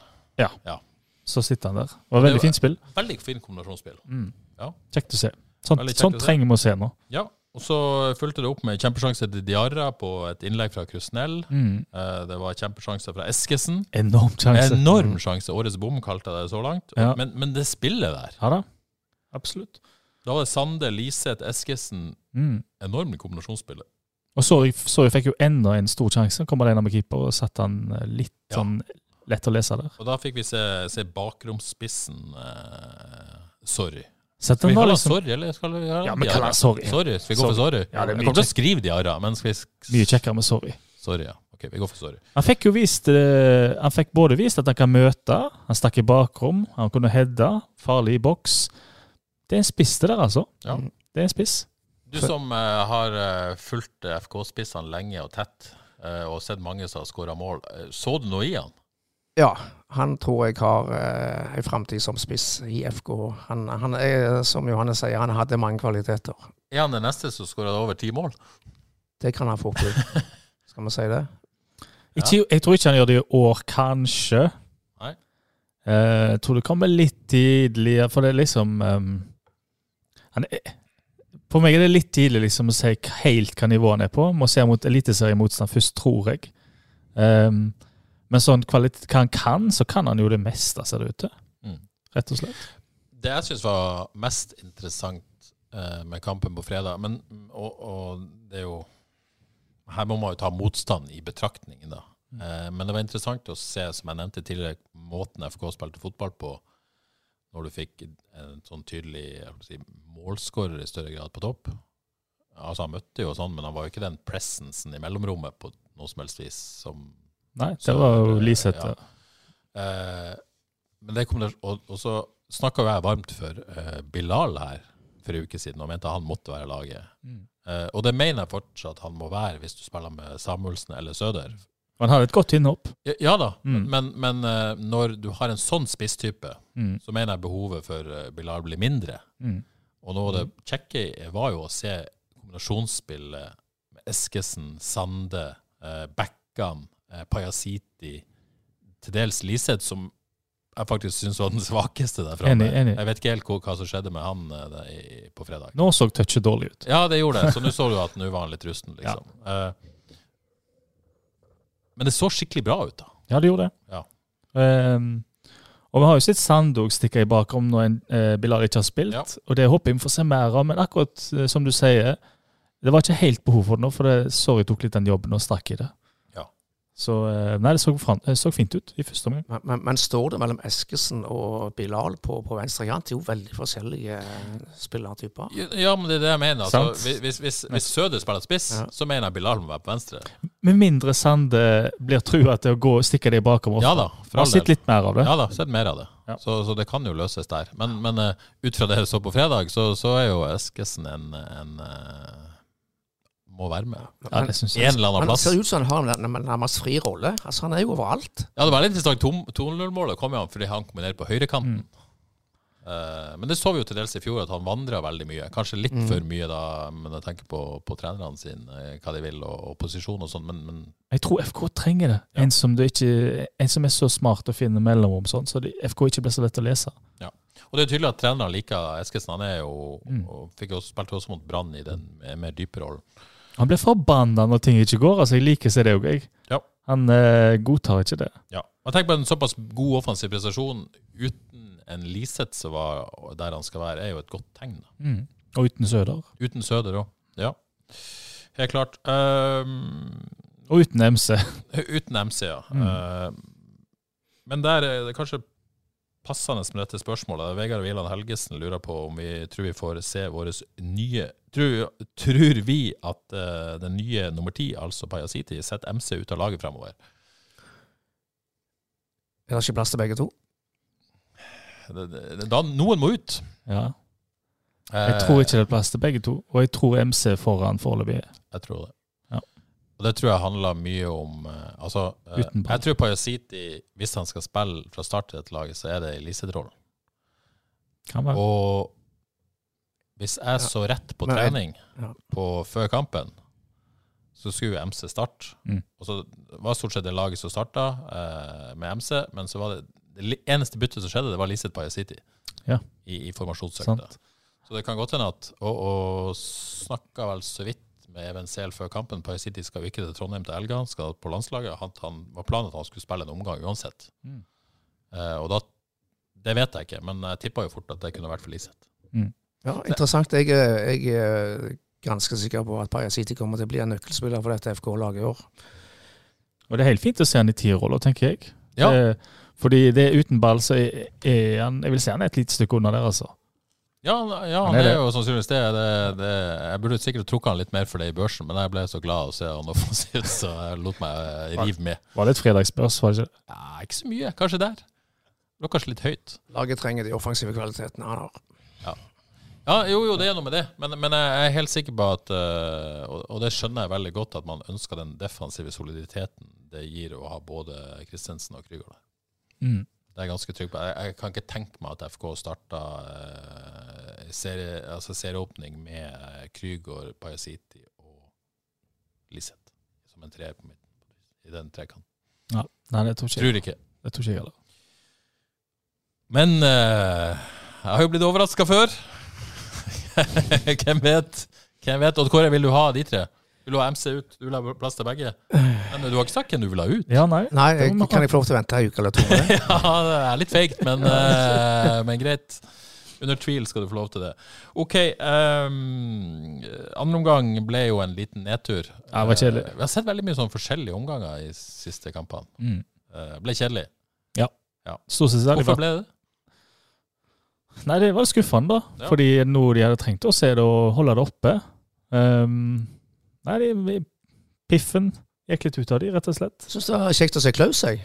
B: Så sitter han der. Det var veldig
A: Det var-
B: fint spill.
A: Veldig fin kombinasjonsspill.
B: Mm.
A: Ja.
B: Kjekt å se. Sånt,
A: Veldig kjekt å
B: sånt
A: se.
B: trenger vi å se nå.
A: Ja, og så fulgte det opp med kjempesjanse til Diarra på et innlegg fra Krusnell.
B: Mm.
A: Eh, Det var kjempesjanse fra Eskesen.
B: Enorm sjanse.
A: Enorm sjanse. Årets bom kalte jeg det så langt.
B: Mm. Ja.
A: Men, men det spillet der
B: Ja da. Absolutt.
A: Da var det Sande, Liseth, Eskesen.
B: Mm.
A: Enormt kombinasjonsspill.
B: Og Sorry, Sorry fikk jo enda en stor sjanse. Kom alene med keeper og satte han eh, litt
A: Ja.
B: sånn Lett å lese der.
A: Og da fikk vi se, se bakromsspissen. eh, sorry.
B: Sett
A: Skal
B: den
A: vi
B: da,
A: kalle han
B: liksom.
A: sorry, eller skal vi kalle
B: Ja,
A: han
B: men kall
A: Diarra?
B: han sorry.
A: Sorry, skal vi gå for sorry?
B: Sorry. Ja, det er
A: jeg
B: mye
A: kommer til å skrive Diarra, men skal vi
B: Mye kjekkere med sorry.
A: Sorry, ja. Ok, vi går for sorry.
B: Han fikk jo vist eh, Han fikk både vist at han kan møte, han stakk i bakrom, han kunne heade, farlig i boks. Det er en spiss det der, altså.
A: Ja.
C: Mm.
B: Det er en spiss.
A: Du som eh, har eh, fulgt eh, FK-spissene lenge og tett, eh, og sett mange som har skåra mål, eh, så du noe i han?
C: Ja, han tror jeg har eh, en framtid som spiss i FK. Han, han er, som Johannes sier, han hadde mange kvaliteter.
A: Er han den neste som skårer over ti mål?
C: Det kan han få til. Skal vi si det?
B: Ikke, Jeg tror ikke han gjør det i år, kanskje.
A: Nei.
B: Eh, jeg tror det kommer litt tidligere, for det er liksom eh, han er, For meg er det litt tidlig liksom, å si k- helt hva nivået han er på. Må se mot eliteseriemotstand først, tror jeg. Eh, men sånn kvalitet, hva han kan, så kan han jo det meste, ser det ut til.
A: Mm.
B: Rett og slett.
A: Det jeg syns var mest interessant eh, med kampen på fredag, men, og, og det er jo Her må man jo ta motstand i betraktningen, da. Eh, men det var interessant å se, som jeg nevnte tidligere, måten FK spilte fotball på, når du fikk en sånn tydelig jeg vil si, målskårer i større grad på topp. Altså, han møtte jo og sånn, men han var jo ikke den presensen i mellomrommet på noe som helst vis som
B: Nei, det
A: Så,
B: var jo
A: eh,
B: Liseth.
A: ja.
B: Ja.
A: Eh, men det kommer til, og, og så snakka jo jeg varmt for eh, Bilal her for en uke siden og mente han måtte være laget.
B: Mm.
A: Eh, og det mener jeg fortsatt han må være hvis du spiller med Samuelsen eller Søder.
B: Han hadde et godt innhopp.
A: Ja, ja da,
B: Mm.
A: men, men eh, når du har en sånn spisstype,
B: Mm.
A: så mener jeg behovet for eh, Bilal blir mindre.
B: Mm.
A: Og noe av det kjekke var jo å se kombinasjonsspillet med Eskesen, Sande, eh, Bekkan, eh, Pajasiti, til dels Liseth, som jeg faktisk syns var den svakeste derfra.
B: Enig, enig.
A: Jeg vet ikke helt hva, hva som skjedde med han eh, det- i, på fredag.
B: Nå så touchet dårlig ut.
A: Ja, det gjorde det, så nå så du at nå var han litt rusten, liksom. Eh, men det så skikkelig bra ut, da.
B: Ja, det gjorde det.
A: Ja.
B: Ehm, og vi har jo sett Sandog stikke i bakrom når en eh, Bilal ikke har spilt,
A: Ja.
B: og det håper jeg vi får se mer av. Men akkurat eh, som du sier, det var ikke helt behov for det nå, for det, sorry tok litt den jobben og strakk i det.
A: Ja.
B: Så eh, nei, det så, fram- eh, så fint ut i første omgang.
C: Men, men, men står det mellom Eskesen og Bilal på, på venstre kant? Det er jo veldig forskjellige eh, spillertyper.
A: Ja, men det er det jeg mener. Altså,
B: Sant.
A: hvis, hvis, hvis Søder spiller spiss,
C: Ja.
A: så mener jeg Bilal må være på venstre.
B: Med mindre Sande blir trua til å gå og stikke det i bakrom.
A: Ja da, for
B: Har
A: all del.
B: sett litt mer av det.
A: Ja da, sett mer av det.
B: Ja.
A: Så, så det kan jo løses der. Men, men eh, ut fra det jeg så på fredag, så, så er jo Eskesen en, en eh, Må være med.
B: Ja, det synes jeg.
A: En eller annen
C: Han
A: plass.
C: ser ut som han har en nærm- nærmest fri rolle. Altså, han er jo overalt.
A: Ja, det var litt interessant. Tom- 2-0-målet kom jo han fordi han kom ned på høyrekanten.
B: Mm.
A: Eh, men det så vi jo til dels i fjor, at han vandra veldig mye. Kanskje litt
B: Mm.
A: for mye da, men jeg tenker på, på trenerne sine, eh, hva de vil, og, og posisjon og sånn, men, men
B: Jeg tror FK trenger det. En, som du ikke, en som er så smart å finne mellomrom, sånn, så de, FK ikke blir så lett å lese.
A: Og det er tydelig at treneren liker Eskesen. Han er jo,
B: Mm.
A: og fikk jo spilt også mot Brann i den mer dype rollen.
B: Han blir forbanna når ting ikke går. altså Jeg liker seg det òg, jeg.
A: Ja.
B: Han eh, godtar ikke det.
A: Ja. Og tenk på en såpass god offensiv prestasjon uten en Liseth som var der han skal være, er jo et godt tegn. da.
B: Og uten Søder.
A: Uten Søder òg. Ja. Helt klart. Ehm,
B: Og uten MC.
A: uten MC, ja.
B: Mm.
A: Ehm, men der er det kanskje passende med dette spørsmålet. Vegard Wieland Helgesen lurer på om vi tror vi får se vår nye Tror, tror vi at eh, den nye nummer ti, altså Pajasiti, setter MC ut av laget fremover?
C: Er det ikke plass til begge to?
A: Det- det- Da, noen må ut.
B: Ja. Jeg tror ikke det er plass til begge to. Og jeg tror MC er foran foreløpig.
A: Jeg tror det.
B: Ja.
A: Og det tror jeg handler mye om eh, Altså, eh,
B: Uten ball.
A: jeg tror Pajasiti, hvis han skal spille fra start til dette laget, så er det i Liseth-rollen.
B: Kan være.
A: Og hvis jeg så rett på
C: Men jeg-
A: trening
C: ja.
A: på, før kampen, så skulle jo MC starte.
B: Mm.
A: Og så var stort sett det laget som starta eh, med MC, men så var det det li- eneste byttet som skjedde, det var Liseth Pajasiti
B: Ja.
A: i, i formasjonsøkta.
B: Sant.
A: Så det kan godt hende at Og, og snakka vel så vidt med Even Sehl før kampen. Parasiti skal jo ikke til Trondheim til helga, han skal på landslaget. Han, han var planen at han skulle spille en omgang uansett.
B: Mm.
A: Eh, og da Det vet jeg ikke, men jeg tippa jo fort at det kunne vært for Liseth.
C: Ja, interessant. Jeg, er- jeg er ganske sikker på at Pajasiti kommer til å bli en nøkkelspiller for dette FK-laget i år.
B: Og det er helt fint å se han i tierrolla, tenker jeg.
A: Ja.
B: Det, fordi det er uten ball, så er, er han Jeg vil si han er et lite stykke under der, altså.
A: Ja, han- ja han
B: Han er
A: er
B: det.
A: jo sannsynligvis det. det, det jeg burde sikkert trukket han litt mer for det i børsen, men jeg ble så glad å se han offensivt, så jeg lot meg eh, rive med.
B: Var litt fredagsbørs, var det ikke?
A: Ja, ikke så mye, kanskje der. Det var kanskje litt høyt.
C: Laget trenger de offensive kvalitetene han har.
A: Ja, jo, jo, det er noe med det, men, men jeg er helt sikker på at eh, og, og det skjønner jeg veldig godt, at man ønsker den defensive soliditeten det gir å ha både Kristensen og Krüger der.
B: Mm.
A: Det er jeg ganske trygg på. Jeg, jeg kan ikke tenke meg at FK starta eh, serie, altså serieåpning med eh, Krüger, Pajasiti og Liseth som en treer på midten i den trekanten.
B: Ja. Nei, det tror ikke jeg.
A: Tror ikke.
B: Det tror ikke jeg heller.
A: Men eh, jeg har jo blitt overraska før. Hvem vet? Hvem vet? Odd Kåre, vil du ha de tre? Vil du ha MC ut? Du vil ha plass til begge? Men eh, du har ikke sagt hvem du vil ha ut?
B: Ja, nei.
C: Nei,
B: Det må man
C: kan
B: ha.
C: jeg få lov til å vente en uke eller to? med det?
A: Ja, det er litt feigt, men, eh, men greit. Under tvil skal du få lov til det. OK. Um, andre omgang ble jo en liten nedtur.
B: Ja, det var kjedelig.
A: Eh, Vi har sett veldig mye sånn forskjellige omganger i siste kampene.
B: Mm.
A: Eh, ble kjedelig.
B: Stort sett veldig bra.
A: Hvorfor ble det det?
B: Nei, det var skuffende, da.
A: Ja.
B: Fordi noe de hadde trengt oss, er det å holde det oppe. Ehm, nei, de, vi- piffen gikk litt ut av de, rett og slett.
C: Syns det var kjekt å se Klaus, jeg.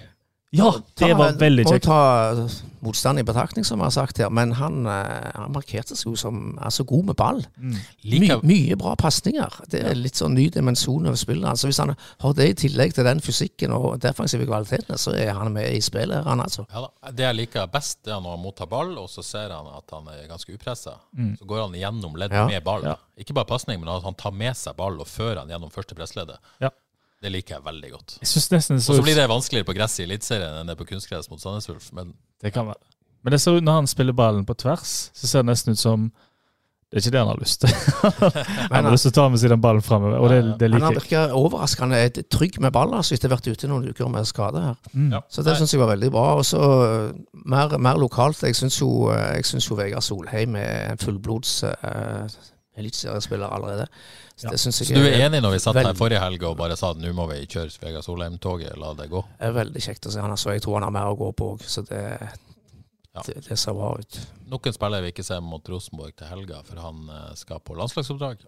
B: Ja, det
C: Ta-
B: var veldig
C: må
B: kjekt.
C: ta eh, motstand i betraktning, som jeg har sagt her, men han, eh, han markerte seg jo som altså, god med ball.
B: Mm.
C: My,
A: Liker-
C: mye bra pasninger. Det er litt sånn ny dimensjon over spillet hans. Så Hvis han har det i tillegg til den fysikken og defensive kvalitetene, så er han med i spillet, her, han altså.
A: Ja, da. Det jeg liker best, det er når han mottar ball, og så ser han at han er ganske upressa. Så går han gjennom leddet
C: Ja.
A: med ball.
B: Mm. Ja.
A: Ikke bare pasning, men at han tar med seg ball og fører han gjennom første pressleddet.
B: Ja.
A: Det liker jeg veldig godt.
B: Jeg synes nesten det
A: Og
B: så
A: så blir
B: ut
A: det vanskeligere på gress i Eliteserien enn det er på kunstgress mot Sandnes Ulf, men
B: Det kan være. Men det ser ut når han spiller ballen på tvers, så ser det nesten ut som det er ikke det han har lyst til. han har lyst til å ta med seg den ballen framover, og det, det
C: eh, Men han
B: liker jeg.
C: virker overraskende trygg med ball, altså, etter å ha vært ute noen uker med skade her.
B: Mm.
A: Ja.
C: Så det
A: Nei,
C: syns jeg var veldig bra. Og så eh, mer, mer lokalt. Jeg syns jo, eh, jeg synes jo Vegard Solheim er en fullblods eh, eliteseriespiller allerede. Så det syns
A: Så
C: jeg
A: du er enig når vi satt her
C: Veldig.
A: forrige helg og bare sa at nå må vi kjøre Vegard Solheim-toget, la det gå?
C: er veldig kjekt å se han. Altså, jeg tror han har mer å gå på òg, så det,
A: Ja.
C: det, det ser bra ut.
A: Nok en spiller vi ikke ser mot Rosenborg til helga, for han eh, skal på landslagsoppdrag.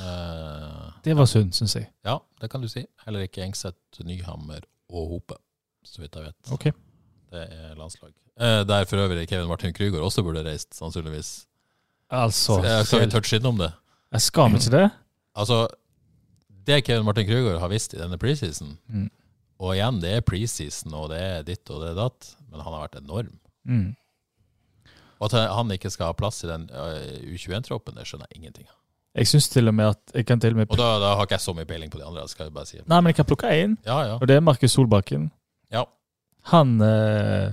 A: Eh,
B: Det var synd, syns jeg.
A: ja, det kan du si. Heller ikke Engseth, Nyhammer og Hope, så vidt jeg vet.
B: Ok.
A: Det er landslag. Eh, der for øvrig Kevin Martin Krüger også burde reist, sannsynligvis.
B: Altså,
A: Eh, Skal vi touche innom det?
B: jeg skal vi ikke det?
A: Altså, det Kevin Martin Krüger har visst i denne preseason
B: Mm.
A: Og igjen, det er preseason, og det er ditt og det er datt, men han har vært enorm.
B: Mm.
A: Og at han ikke skal ha plass i den øh, U21-troppen, det skjønner jeg ingenting av.
B: Jeg syns til og med at jeg kan til og med
A: Og da, da har ikke jeg så mye peiling på de andre, skal jeg bare si.
B: Nei, men jeg kan plukke én,
A: Ja, ja.
B: og det er Markus Solbakken.
A: Ja.
B: Han, eh,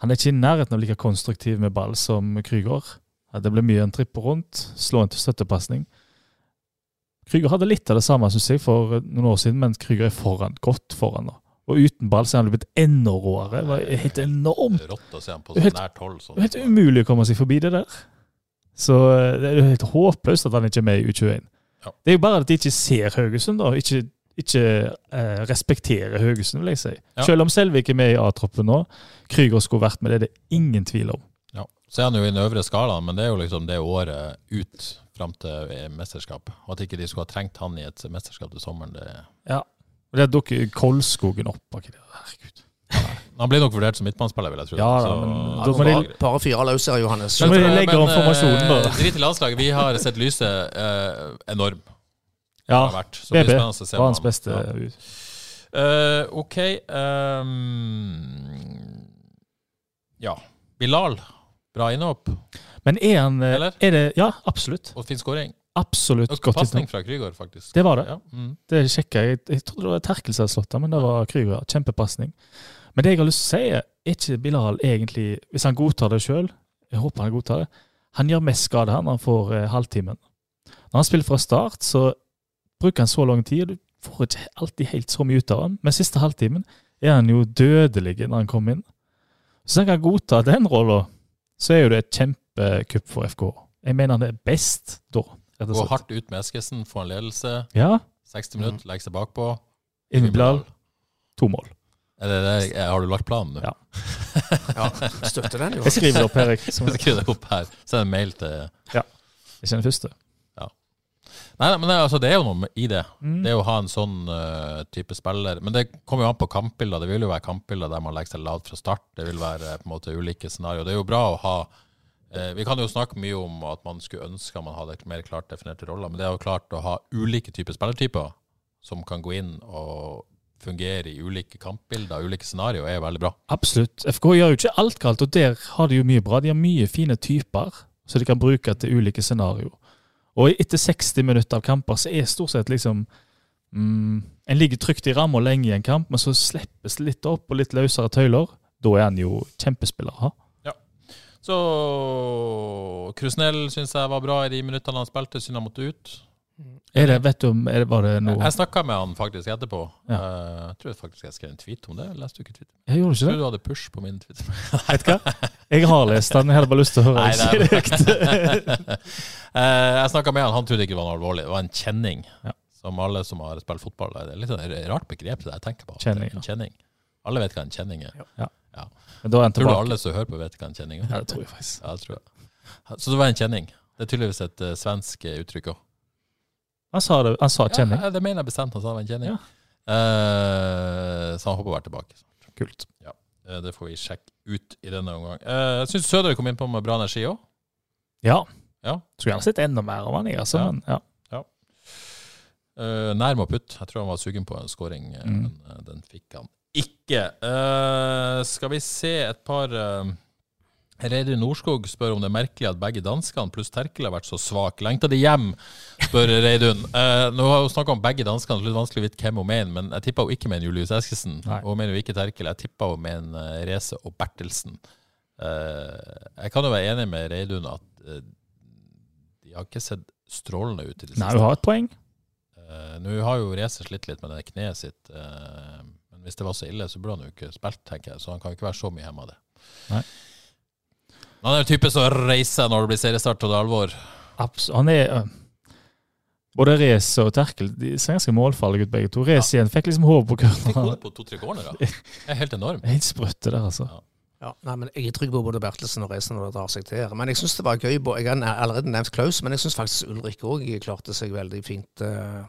B: han er ikke i nærheten av like konstruktiv med ball som Krüger. At Det ble mye en tripp rundt, slå en til støttepasning. Krüger hadde litt av det samme synes jeg, for noen år siden, men Krüger er foran, godt foran. nå. Og uten ball så er han blitt enda råere. Det var helt enormt.
A: Det er rått å se han på
B: Det
A: så
B: er helt-
A: nært hold. Sånn.
B: Det er helt umulig å komme seg forbi det der. Så eh, det er jo helt håpløst at han ikke er med i U21.
A: Ja.
B: Det er jo bare at de ikke ser Haugesund, da. Ikke, ikke eh, respekterer Haugesund, vil jeg si.
A: Ja.
B: Selv om Selvik er med i A-troppen nå, Krüger skulle vært med, det er det ingen tvil om.
A: Ja. Så er han jo i den øvre skalaen, men det er jo liksom det året ut fram til eh, mesterskap. Og at ikke de skulle ha trengt han i et mesterskap til sommeren, det
B: Og Der dukker Kolskogen opp. var ikke det? Herregud.
A: Han blir nok vurdert som midtbanespiller, vil jeg tro.
B: Ja da,
A: så-
B: men da må de
C: Bare, bare fyre løs her, Johannes.
B: Men- vi legge om
A: eh,
B: formasjonen, da.
A: Drit i landslaget. Vi har sett lyset eh, enorm.
B: Ja,
A: har vært. Så det
B: BB
A: blir spennende å se
B: var hans
A: om han-
B: beste.
A: Ja. Eh, OK ehm, Ja. Bilal, bra innhopp
B: Men er han eh,
A: Eller?
B: er det, Ja, absolutt.
A: og fin skåring.
B: Absolutt
A: Og
B: godt
A: Pasning
B: innhold.
A: fra Krüger, faktisk.
B: Det var det.
A: Ja, mm.
B: Det sjekka jeg. Jeg trodde det var Terkel som hadde slått den, men det var Krüger. Kjempepasning. Men det jeg har lyst til å si, er er ikke Bilal egentlig Hvis han godtar det sjøl, jeg håper han godtar det, han gjør mest skade her når han får eh, halvtimen. Når han spiller fra start, så bruker han så lang tid, og du får ikke alltid helt så mye ut av han. Men siste halvtimen er han jo dødelig når han kommer inn. Så hvis han kan godta den rolla, så er jo det et kjempekupp for FK. Jeg mener han er best da, rett og
A: Gå
B: slett.
A: hardt ut med Eskesen, få en ledelse.
B: Ja, Mm.
A: 60 minutter, legge seg bakpå.
B: Inn i Bilal, to mål.
A: Er det det- er- Har du lagt planen nå?
B: Ja.
C: Ja, støtter den jo.
B: Jeg skriver det opp, Erik. Som,
A: Skriv det opp her. Send en mail til
B: ikke den første.
A: Nei, nei, men det, er- altså, det er jo noe med- i det.
B: Mm.
A: Det å ha en sånn eh, type spiller. Men det kommer jo an på kampbilder. Det vil jo være kampbilder der man legger seg lavt fra start. Det vil være eh, på en måte ulike scenarioer. Det er jo bra å ha eh, Vi kan jo snakke mye om at man skulle ønske man hadde mer klart definerte roller, men det er jo klart å ha ulike typer spillertyper som kan gå inn og fungere i ulike kampbilder, ulike scenarioer, er jo veldig bra.
B: Absolutt. FK gjør jo ikke alt galt, og der har de jo mye bra. De har mye fine typer som de kan bruke til ulike scenario. Og etter 60 minutter av kamper så er stort sett liksom mm, En ligger trygt i ramma lenge i en kamp, men så slippes det litt opp og litt løsere tøyler. Da er han jo kjempespiller å ha.
A: Så Krusnell syns jeg var bra i de minuttene han spilte, synd han måtte ut.
B: Er det, vet du om er det, Var det noe
A: Jeg snakka med han faktisk etterpå.
B: Ja.
A: Eh, Jeg tror faktisk jeg skrev en tweet om det. Jeg Leste du ikke tweet?
B: Jeg
A: Jeg
B: gjorde ikke
A: tror
B: det.
A: du hadde push på min tweet.
B: Vet du hva? Jeg har lest den, jeg hadde bare lyst til å høre
A: Nei,
B: deg si det høyt.
A: Eh, jeg snakka med han, han trodde ikke det var noe alvorlig. Det var en kjenning.
B: Ja.
A: Som alle som har spilt fotball Det er litt sånn et rart begrep det jeg tenker på.
B: Kjenning, ja.
A: En kjenning. Alle vet hva en kjenning er.
B: Men da er han
A: Tror du
B: tilbake.
A: alle som hører på, vet hva en kjenning er?
B: Ja, det tror jeg faktisk.
A: Ja, jeg tror det. Så det var en kjenning. Det er tydeligvis et eh, svensk eh, uttrykk òg.
B: Han sa, det, han sa kjenning.
A: Ja, det mener jeg bestemt. Han sa det var en kjenning.
B: Ja.
A: Eh, så han håper å være tilbake.
B: Kult.
A: Eh, Det får vi sjekke ut i denne omgang. Eh, Jeg syns Sødre kom inn på med bra energi òg.
B: Ja.
A: Ja.
B: Skulle gjerne sett enda mer av han, jeg, altså.
A: Ja.
B: Men ja.
A: Eh, Nær med å putte. Jeg tror han var sugen på en scoring, eh,
B: Mm.
A: men eh, den fikk han ikke. Eh, Skal vi se et par eh, Reidar Norskog spør om det er merkelig at begge danskene pluss Terkel har vært så svak. Lengta de hjem, spør Reidun. Eh, nå har hun snakka om begge danskene, så det er litt vanskelig å vite hvem hun mener, men jeg tippa hun ikke mener Julius Eskesen.
B: Nei.
A: Og hun mener jo ikke Terkel. Jeg tippa hun mener eh, Reze og Bertelsen. Eh, jeg kan jo være enig med Reidun at eh, de har ikke sett strålende ut i det
B: Nei, du har et poeng.
A: Eh, Nå har jo Reze slitt litt med det kneet sitt, eh, men hvis det var så ille, så burde han jo ikke spilt, tenker jeg, så han kan jo ikke være så mye hjemme av det.
B: Nei.
A: Men Han er jo typen som reiser når det blir seriestart og det er alvor.
B: Abs han er øh, Både Reze og Terkel de ser ganske målfarlige ut, begge to. Reze igjen fikk liksom hodet på
A: Fikk
B: kurven.
A: hodet på to-tre cornerer. Det er helt enorm.
B: Helt sprøtt, det der, altså.
C: Ja, nei, men Jeg er trygg på både Bertelsen og Reisen når det drar seg til. her. Men jeg syns det var gøy. på- Jeg har allerede nevnt Klaus, men jeg syns faktisk Ulrik òg klarte seg veldig fint. eh,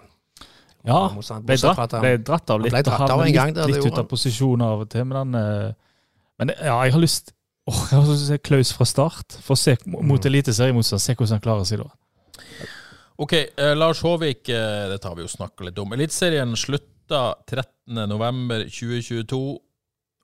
B: Ja,
C: mot han,
B: ble
C: bortsett fra at
B: dratt,
C: han-
B: ble dratt av
C: han
B: litt.
C: ble dratt
B: og
C: av
B: havnet
C: en gang, det
B: litt, litt
C: gjorde
B: ut av
C: han.
B: posisjon av og til, men han øh, Men ja, jeg har lyst Åh, jeg har lyst til å se Klaus fra start. For å se
C: Mm.
B: mot eliteseriemotstand, se hvordan han klarer seg da.
A: Ok, eh, Lars Håvik, eh, dette har vi jo snakka litt om. Eliteserien slutta 13.11.2022.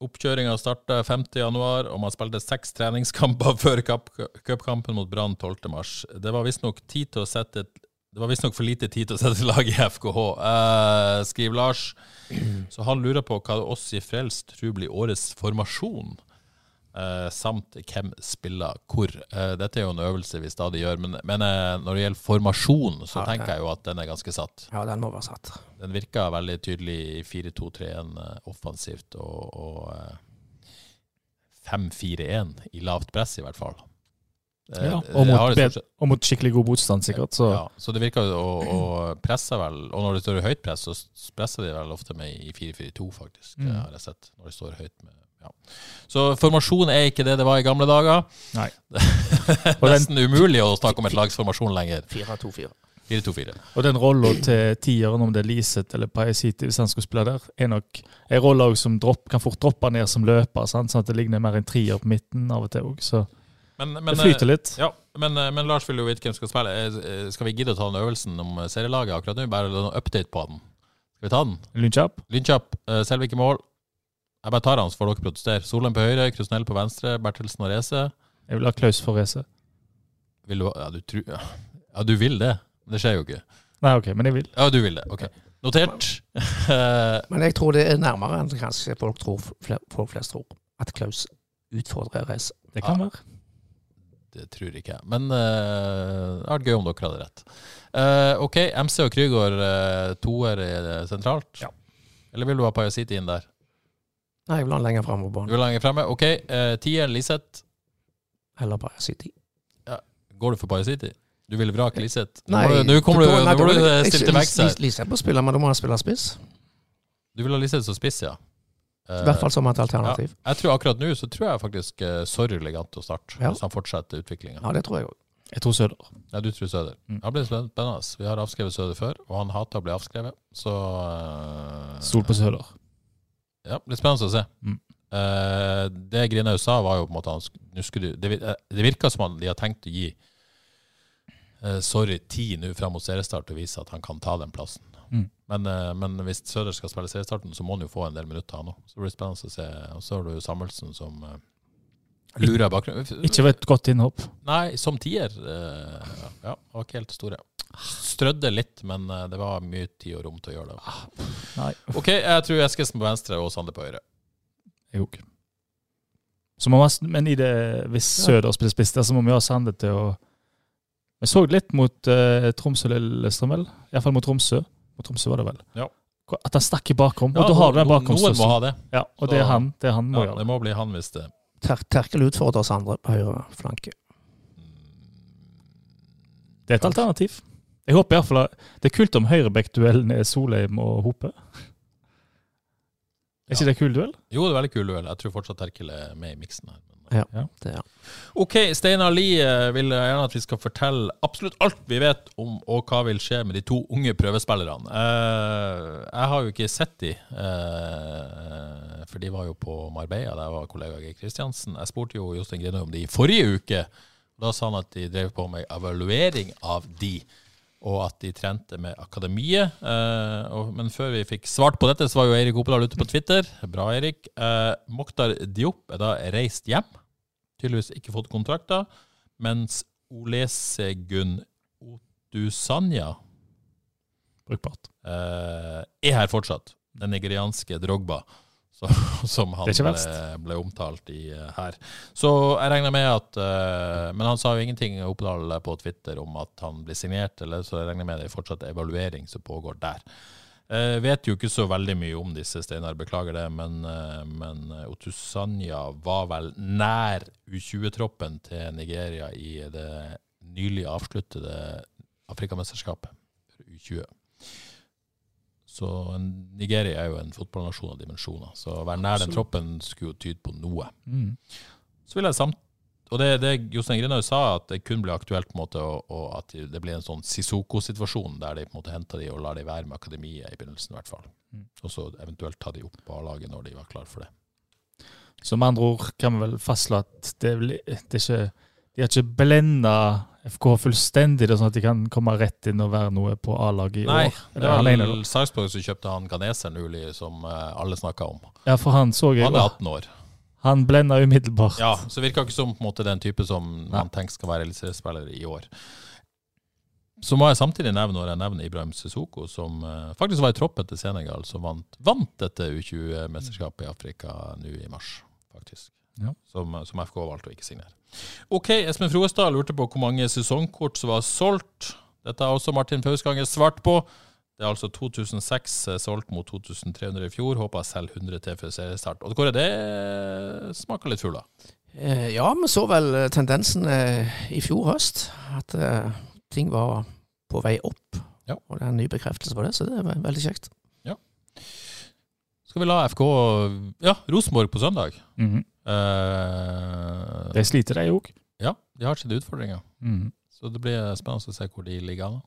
A: Oppkjøringa starta 50.1, og man spilte seks treningskamper før kap- cupkampen mot Brann 12.3. Det var visstnok tid til å sette et det var visstnok for lite tid til å sette lag i FKH, eh, skriver Lars. Så han lurer på hva oss i Frelst tror blir årets formasjon eh, samt hvem spiller hvor. Eh, dette er jo en øvelse vi stadig gjør, men, men eh, når det gjelder formasjon, så
C: Ja, ja.
A: tenker jeg jo at den er ganske satt.
C: Ja, den må være satt.
A: Den virker veldig tydelig i 4-2-3-1 eh, offensivt og, og eh, 5-4-1 i lavt press, i hvert fall. Eh,
B: Ja,
A: det- det har
B: og, mot
A: det stort
B: bed- og mot skikkelig god motstand, sikkert. Så
A: ja, så det virker jo å, å presse vel, og når det står i høyt press, så s- presser de vel ofte med i 4-4-2, faktisk, eh,
B: Mm.
A: har jeg sett. Når de står høyt med, ja. Så formasjon er ikke det det var i gamle dager.
B: Nei.
A: Det er nesten umulig å snakke om et lags formasjon lenger.
C: 4-2-4.
A: 4-2-4.
B: Og den rolla til tieren, om det er Liseth eller Pajasiti, hvis han skulle spille der, er nok en rolle som dropp, kan fort droppe ned som løper, sant? sånn at det ligner mer en trier på midten av og til òg. Så
A: Men, eh, men,
B: det flyter litt.
A: Ja, men, eh, men Lars vil jo vite hvem som skal spille. Eh, eh, Skal vi gidde å ta den øvelsen om eh, serielaget akkurat nå? Bare en update på den. Skal vi ta den?
B: Lynkjapp.
A: Lynkjapp, eh, Selvik i mål. Jeg bare tar han, så får dere protestere. Solheim på høyre, Krusnell på venstre, Bertelsen og Reze.
B: Jeg vil ha Klaus for Reze.
A: Vil du, ja, du tru, ja. ja, du vil det. Men Det skjer jo ikke.
B: Nei, OK, men jeg vil.
A: Ja, du vil det. Ok. Notert. Eh,
C: Men jeg tror det er nærmere enn kanskje folk, tror, fle- folk flest tror. At Klaus utfordrer Reise.
B: Det kan
A: Ja.
B: være.
A: det tror ikke jeg. Men eh, det hadde vært gøy om dere hadde rett. Eh, ok, MC og Krygård eh, toer eh, sentralt. Eller vil du ha Pajasiti inn der?
C: Nei, jeg vil ha han lenger fram på
A: Du
C: banen.
A: vil lenger fremme. Ok, uh, tieren Liseth.
C: Eller bare sitte i.
A: Går du for Pajasiti? Du ville vrake Liseth? Nå
C: Nei,
A: må du- Nå kommer du,
C: da- nei,
A: nå
C: da
A: må
C: vil-
A: du eh,
C: jeg-
A: stilte
C: Lis-
A: vekk her.
C: Lis- Liseth må spille, men da må han spille spiss.
A: Du vil ha Liseth som spiss, ja. Eh,
C: I hvert fall som et alternativ.
A: Ja, jeg tror akkurat nå så tror jeg faktisk eh, Sorry ligger an til å starte,
C: Ja.
A: hvis han fortsetter utviklinga.
C: Ja, det tror jeg òg.
B: Jeg tror Søder.
A: Nei, du tror Søder.
B: Mm.
A: Ja, Det blir spennende. Vi har avskrevet Søder før, og han hater å bli avskrevet. Så eh,
B: Stol på Søder.
A: Ja, det blir spennende å se.
B: Mm.
A: Eh, det Grinhaug sa, var jo på en måte han sk- nå skulle, du- det, vi- eh, det virka som han, de har tenkt å gi eh, Sorry ti nå fram mot seriestart og vise at han kan ta den plassen.
B: Mm.
A: Men, eh, men hvis Søder skal spille seriestarten, så må han jo få en del minutter, han òg. Så det blir spennende å se. Og så har du jo Samuelsen som eh, lurer i bakgrunnen.
B: Ikke var et godt innhopp.
A: Nei, som tier. eh, ja, han var ikke helt store. Strødde litt, men eh, det var mye tid og rom til å gjøre
B: Ah.
A: det.
B: Nei,
A: OK, jeg tror Eskesen på venstre og Sander på høyre.
B: jeg òg. Så må man, men i det, hvis Søder spiller spiss der, så må vi ha Sande til å Vi så litt mot eh, Tromsø Lillestrøm, vel? Iallfall mot Tromsø. Mot Tromsø var det vel.
A: Ja.
B: At han stakk i bakrom.
A: Ja,
B: og da har du den
A: no- Noen må
B: bakromstrusselen.
A: ha det.
B: Ja, og det er han. Det er han må
A: Ja,
B: gjøre.
A: det må bli han hvis det
C: Ter Terkel utfordrer oss andre på høyre flanke.
A: Mm.
B: Det er et alternativ. Jeg håper i hvert fall at- Det er kult om høyrebekkduellen er Solheim og Hope. Er ikke det en kul duell?
A: Jo, det er veldig kul duell. Jeg tror fortsatt Terkel er med i miksen her. Men-
C: Ja,
B: Ja.
C: det er han.
A: OK, Steinar Lie eh, vil gjerne at vi skal fortelle absolutt alt vi vet om og hva vil skje med de to unge prøvespillerne. Eh, jeg har jo ikke sett de, eh, for de var jo på Marbella. Der var kollega Geir Kristiansen. Jeg spurte jo Jostein Grinøy om de i forrige uke. Da sa han at de drev på med evaluering av de. og at de trente med akademiet. Eh, og, men før vi fikk svart på dette, så var jo Eirik Opedal ute på Twitter. Bra, Eirik. Eh, Mokhtar Diop er da reist hjem. Tydeligvis ikke fått kontrakter. Mens Olesegun Otusanya
B: Brukbart.
A: eh, er her fortsatt. Den nigerianske Drogba, så, som han
B: Det er ikke
A: ble,
B: verst.
A: ble omtalt i eh, her. Så jeg regner med at eh, Men han sa jo ingenting Oppdal på Twitter om at han blir signert, eller, så jeg regner med det er fortsatt evaluering som pågår der. Eh, vet jo ikke så veldig mye om disse, Steinar, beklager det, men, eh, men eh, Otusanya var vel nær U20-troppen til Nigeria i det nylig avsluttede Afrikamesterskapet, U20. Så en- Nigeria er jo en fotballnasjon av dimensjoner, så å være nær den troppen skulle jo tyde på noe.
B: Mm.
A: Så vil jeg samt og det, det Jostein Grinhaug sa, at det kun ble aktuelt på en måte, og, og at det blir en sånn Sissoko-situasjon, der de på en måte henter de og lar de være med akademiet i begynnelsen, i hvert fall.
B: Mm.
A: Og så eventuelt ta de opp på A-laget når de var klar for det.
B: Så med andre ord kan vi vel fastslå at det, er vel- det er ikke, de har ikke blenda FK fullstendig, det er sånn at de kan komme rett inn og være noe på A-laget i
A: Nei,
B: år.
A: det
B: Eller han
A: var
B: ene,
A: vel Sarpsborg som kjøpte han ganeseren nylig, som eh, alle snakka om.
B: da. Ja, for han så jeg
A: Han er
B: Han,
A: 18 år.
B: han blenda umiddelbart.
A: Ja, så virka ikke som på en måte den type som man
B: Nei.
A: tenker skal være eliteseriespiller i år. Så må jeg samtidig nevne når jeg nevner Ibrahim Sissoko, som eh, faktisk var i troppen til Senegal, som vant, vant dette U20-mesterskapet i Afrika nå i mars, faktisk.
B: Ja.
A: Som, eh, som FK valgte å ikke signere. OK, Espen Froestad lurte på hvor mange sesongkort som var solgt. Dette har også Martin Fausganger svart på. Det er altså 2006 solgt mot 2300 i fjor. Håper jeg selger 100 til før seriestart. Og Kåre, det smaker litt fugler.
C: Eh, Ja, vi så vel eh, tendensen eh, i fjor høst. At eh, ting var på vei opp.
A: Ja.
C: Og det er en ny bekreftelse på det, så det er ve- veldig kjekt.
A: Skal vi la FK Ja, Rosenborg på søndag.
B: Mhm.
A: Eh,
B: De sliter, de òg.
A: ja, de har sine utfordringer.
B: Mhm.
A: Så det blir spennende å se hvor de ligger an.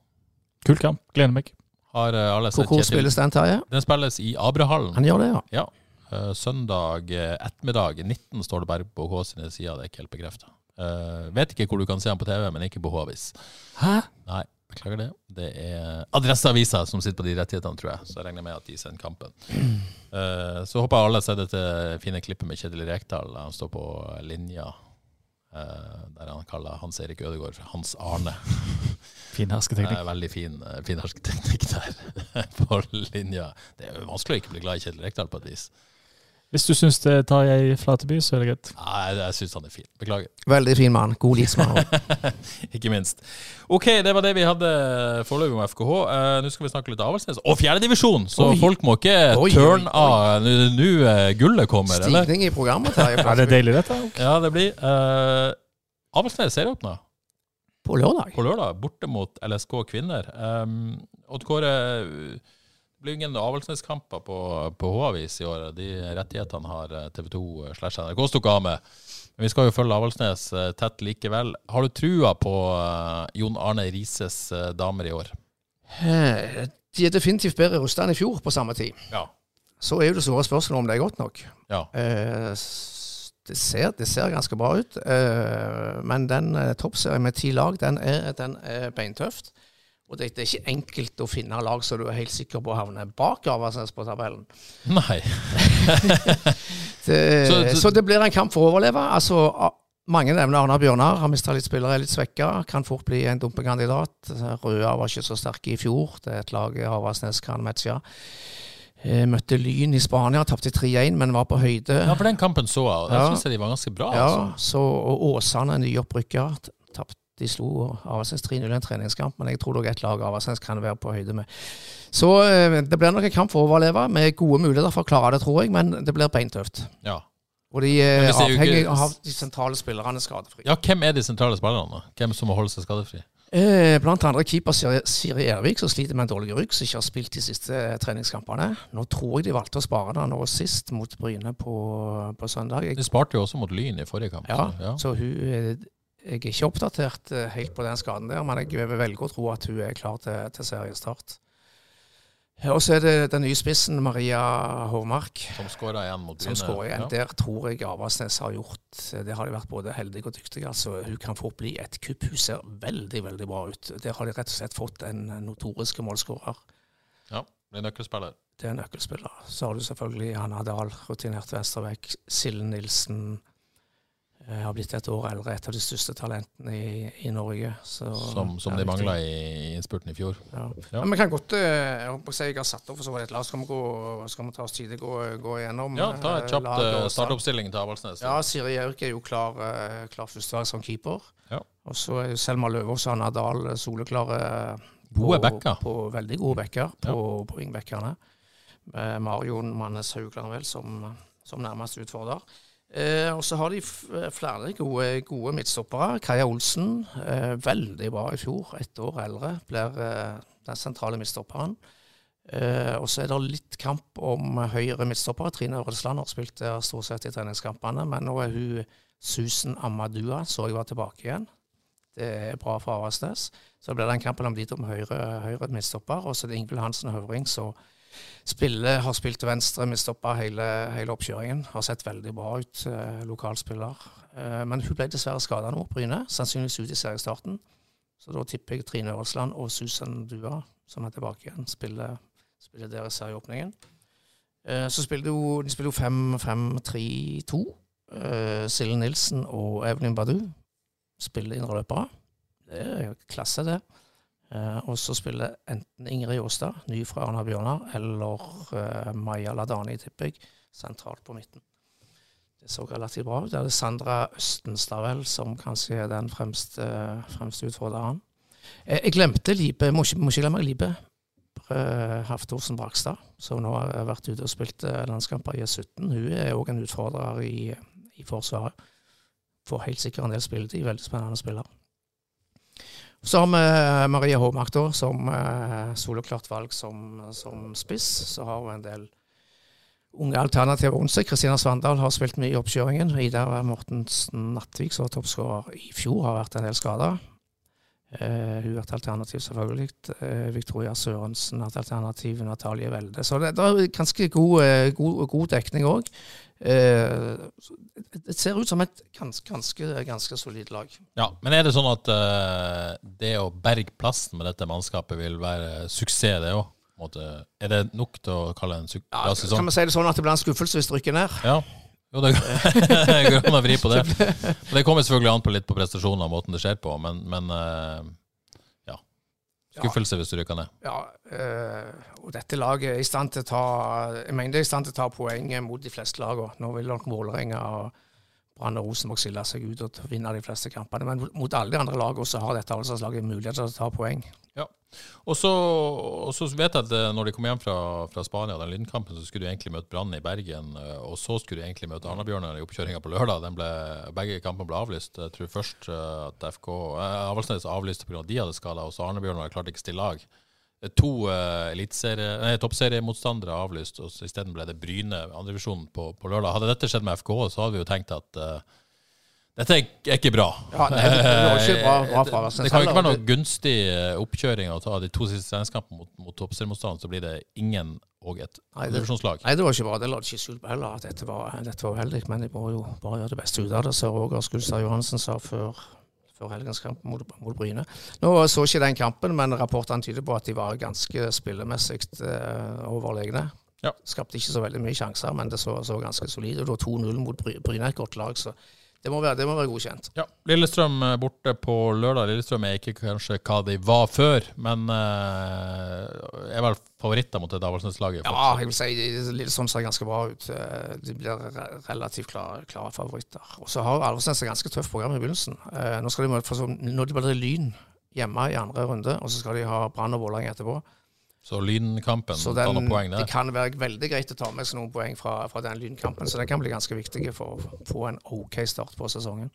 B: Kul kamp. Gleder meg.
A: Har eh, alle
C: Hvor,
A: sett
C: hvor
A: Kjetil?
C: spilles den, Terje?
A: Den spilles i Abrahallen.
C: Han gjør det, ja.
A: Eh, søndag eh, ettermiddag 19 står det bare på H sine sider, det er ikke helt bekrefta. vet ikke hvor du kan se han på TV, men ikke på H-avis.
C: Hæ?
A: Nei, beklager det. Det er Adresseavisa som sitter på de rettighetene, tror jeg. Så jeg regner med at de sender kampen. Eh, så håper jeg alle har sett dette fine klippet med Kjetil Rekdal. Han står på linja eh, der han kaller Hans Erik Ødegaard for Hans Arne.
B: Fin
A: Det
B: hersketeknikk.
A: er veldig fin, eh, fin hersketeknikk der på linja. Det er jo vanskelig å ikke bli glad i Kjetil Rekdal på et vis.
B: Hvis du syns det tar jeg i Flateby, så er det greit.
A: Nei, jeg syns han er fin. Beklager.
C: Veldig fin mann. God livsmann.
A: Ikke minst. Ok, det var det vi hadde foreløpig om FKH. Eh, Nå skal vi snakke litt Avaldsnes. Og fjerdedivisjon! Så
C: Oi.
A: folk må ikke
C: Oi, oi,
A: turn
C: oi.
A: av nå nå, eh, gullet kommer, eller?
C: Stigning i programmet, Terje.
B: Ja, det er deilig, dette.
A: Ja, det blir eh, Avaldsnes serieåpna
C: På lørdag.
A: Ehm, på lørdag, borte mot LSK kvinner. Um, Odd Kåre, Lyngen og Avaldsnes-kamper på, på H-avis i år. De rettighetene har eh, TV 2 slash NRK stukket av med. Men vi skal jo følge Avaldsnes eh, tett likevel. Har du trua på eh, Jon Arne Rises eh, damer i år?
C: Eh, De er definitivt bedre rusta enn i fjor på samme tid.
A: Ja.
C: Så er jo det store spørsmålet om det er godt nok.
A: Ja.
C: Eh, s- Det ser, det ser ganske bra ut, eh, men den eh, toppserien med ti lag, den er, den er beintøft. Og det, det er ikke enkelt å finne lag som du er helt sikker på å havne bak Avaldsnes på tabellen.
A: Nei.
C: Det,
A: Så-
C: eh, så,
A: så-
C: det blir en kamp for å overleve. Altså, a- mange nevner Arnar Bjørnar. Har mista litt spillere, er litt svekka. Kan fort bli en dumpekandidat. Røa var ikke så sterke i fjor. Det er et lag Avaldsnes kan matche. Eh, Møtte Lyn i Spania, tapte 3-1, men var på høyde.
A: Ja, for den kampen så jeg, og jeg
C: Ja.
A: synes de var ganske bra.
C: Ja,
A: altså.
C: så, og Åsane, nyopprykka, tapt. De slo Avaldsnes 3-0 i en treningskamp, men jeg tror nok et lag Avaldsnes kan være på høyde med. Så eh, det blir nok en kamp for å overleve, med gode muligheter for å klare det, tror jeg, men det blir beintøft.
A: Ja.
C: Og de er
A: hvis det er jo
C: avhengig
A: ikke-
C: av de sentrale spillerne skadefri.
A: ja, hvem er de sentrale spillerne? Hvem som må holde seg skadefri?
C: Eh, blant andre keeper Siri- Siri Ervik, som sliter med en dårlig rygg, som ikke har spilt de siste eh, treningskampene. Nå tror jeg de valgte å spare det nå sist, mot Bryne på, på søndag. Jeg
A: De sparte jo også mot Lyn i forrige kamp.
C: Ja,
A: så, ja.
C: så hun eh, Jeg er ikke oppdatert eh, helt på den skaden der, men jeg velger å tro at hun er klar til, til seriestart. Eh, Og så er det den nye spissen, Maria Hovmark,
A: Som skåra igjen mot
C: som
A: Bryne.
C: skårer igjen.
A: Ja.
C: Der tror jeg Avaldsnes har gjort eh, Det har de vært både heldige og dyktige. Altså, hun kan fort bli et kupp. Hun ser veldig, veldig bra ut. Der har de rett og slett fått en notorisk målskårer.
A: Ja, blir nøkkelspiller.
C: Det er nøkkelspillere. Så har du selvfølgelig Hanna Dahl, rutinert venstreback. Silje Nilsen eh, har blitt et år eldre, et av de største talentene i, i Norge. Så,
A: Som, som
C: Ja,
A: de
C: viktig.
A: mangla i innspurten i fjor.
C: Ja.
A: Ja.
C: Men vi kan godt eh, Jeg holdt på å si jeg har satt opp for så vidt et lag. Skal vi, gå, skal vi ta oss tid til å gå, gå igjennom?
A: Ja, ta et
C: eh,
A: kjapt
C: lag og
A: eh,
C: start?
A: startoppstilling til Avaldsnes.
C: Ja, Siri Jauk er jo klar, eh, klar førstevalg som keeper.
A: Ja.
C: Og så er jo Selma Løvaas og Hanna Dahl eh, soleklare. eh,
A: Gode
C: på-
A: backer.
C: På, veldig gode backer på, på wingbackerne. Eh, Marion Mannes Haugland vel som, som nærmest utfordrer. Eh, og så har de f flere gode, gode midtstoppere. Kaja Olsen, eh, veldig bra i fjor. Ett år eldre, blir eh, den sentrale midtstopperen. Eh, og så er det litt kamp om høyre midtstoppere. Trine Øresland har spilt der stort sett i treningskampene, men nå er hun Susan Amadua, så jeg var tilbake igjen. Det er eh, bra for Avaldsnes. Så blir det en kamp mellom de to med høyre, høyre midtstopper, og så er det Ingvild Hansen og Høvring som spiller, har spilt venstre midtstopper hele, hele oppkjøringen. Har sett veldig bra ut, eh, lokalspiller. Eh, men hun ble dessverre skada nå, Bryne. Sannsynligvis ut i seriestarten. Så da tipper jeg Trine Øresland og Susan Dua, som er tilbake igjen, spiller, spiller der i serieåpningen. Eh, så spiller jo, de spiller jo 5-5-3-2. Eh, Silje Nilsen og Evelyn Badu spiller indreløpere. Det er jo klasse, det. Eh, og så spiller enten Ingrid Aastad, ny fra Arna Bjørnar, eller eh, Maja Ladani, tipper jeg, sentralt på midten. Det så relativt bra ut. Det er det Sandra Østenstad vel som kanskje er den fremste, fremste utfordreren. Eh, jeg glemte Libe, må ikke, må ikke glemme Libe. eh, Haftorsen Brakstad, som nå har vært ute og spilt eh, landskamper i 17. Hun er òg en utfordrer i, i Forsvaret. Får helt sikkert en del spilletid. Veldig spennende spiller. Som eh, Maria Håmark, da, som eh, soloklart valg som, som spiss, så har hun en del unge alternativer rundt seg. Kristina Svandal har spilt mye i oppkjøringen. Idar Mortensen Nattvik, som var toppskårer i fjor, har vært en del skada. Eh, hun er et alternativ, selvfølgelig. Eh, Victoria Sørensen er et alternativ. Natalie Welde. Så det, det er ganske god, eh, god, god dekning òg. Eh, så det- det ser ut som et gans, ganske, ganske solid lag.
A: Ja, Men er det sånn at eh, det å berge plassen med dette mannskapet vil være suksess, det òg? Er det nok til å kalle det en suk- bra
C: Ja, kan
A: sesong?
C: vi si det sånn at det blir en skuffelse hvis det rykker ned?
A: Ja. Jo, det går går an å vri på det. Men det kommer selvfølgelig an på litt på prestasjoner og måten det skjer på, men, men eh, ja. Skuffelse hvis du rykker ned.
C: Ja, eh, og dette laget er i stand til å ta Jeg mener det er i stand til å ta poeng mot de fleste lagene. Nå vil nok Vålerenga og Brann og Rosenborg skille seg ut og vinne de fleste kampene. Men mot alle de andre lagene så har dette Alsaslaget mulighet til å ta poeng.
A: Og så, og så vet jeg at eh, når de kom hjem fra, fra Spania, den lynkampen, så skulle du egentlig møte Brann i Bergen. eh, Og så skulle du egentlig møte Arna-Bjørnar i oppkjøringa på lørdag. Den ble, begge kampene ble avlyst. Jeg tror først eh, at FK eh, Avaldsnes avlyste pga. de hadde skada, og så Arna-Bjørnar klarte ikke å stille lag. to eh, eliteserie- nei, toppseriemotstandere avlyst, og så isteden ble det Bryne, andrevisjonen, på, på lørdag. Hadde dette skjedd med FKH, så hadde vi jo tenkt at eh, dette er ikke- er ikke bra.
C: Ja, nei, det var ikke bra- bra fra
A: det,
C: Vassnes
A: det kan jo ikke være
C: heller.
A: noe gunstig eh, oppkjøring å ta de to siste treningskampene mot, mot toppseriemotstanderen, så blir det ingen og et
C: Nei, det-
A: divisjonslag.
C: Nei, det var ikke bra. Det la det ikke skjul på heller, at dette var, dette var uheldig. Men jeg må jo bare gjøre det beste ut av det, som Roger Skulstad Johansen sa før, før helgens kamp mot, mot Bryne. Nå så ikke den kampen, men rapportene tyder på at de var ganske spillemessig eh, overlegne.
A: Ja.
C: Skapte ikke så veldig mye sjanser, men det så, så ganske solid. Og da 2-0 mot Bry- Bryne, et godt lag, så det må være, det må være godkjent.
A: Ja, Lillestrøm eh, borte på lørdag. Lillestrøm er ikke kanskje hva de var før, men eh, er vel favoritter mot det
C: Ja,
A: Davalsnes-laget. fortsatt.
C: jeg vil si Lillestrøm sånn ser ganske bra ut. Eh, De blir re- relativt klare, klare favoritter. Og så har Alversnes et ganske tøft program i begynnelsen. Eh, Nå skal de møte for sånn- nå de møter Lyn hjemme i andre runde, og så skal de ha Brann og Vålerenga etterpå.
A: Så Lynkampen
C: Så
A: tar noen
C: den,
A: Mm, poeng
C: det
A: der.
C: kan være veldig greit å ta med seg noen poeng fra, fra den Lynkampen, så den kan bli ganske viktig for å få en OK start på sesongen.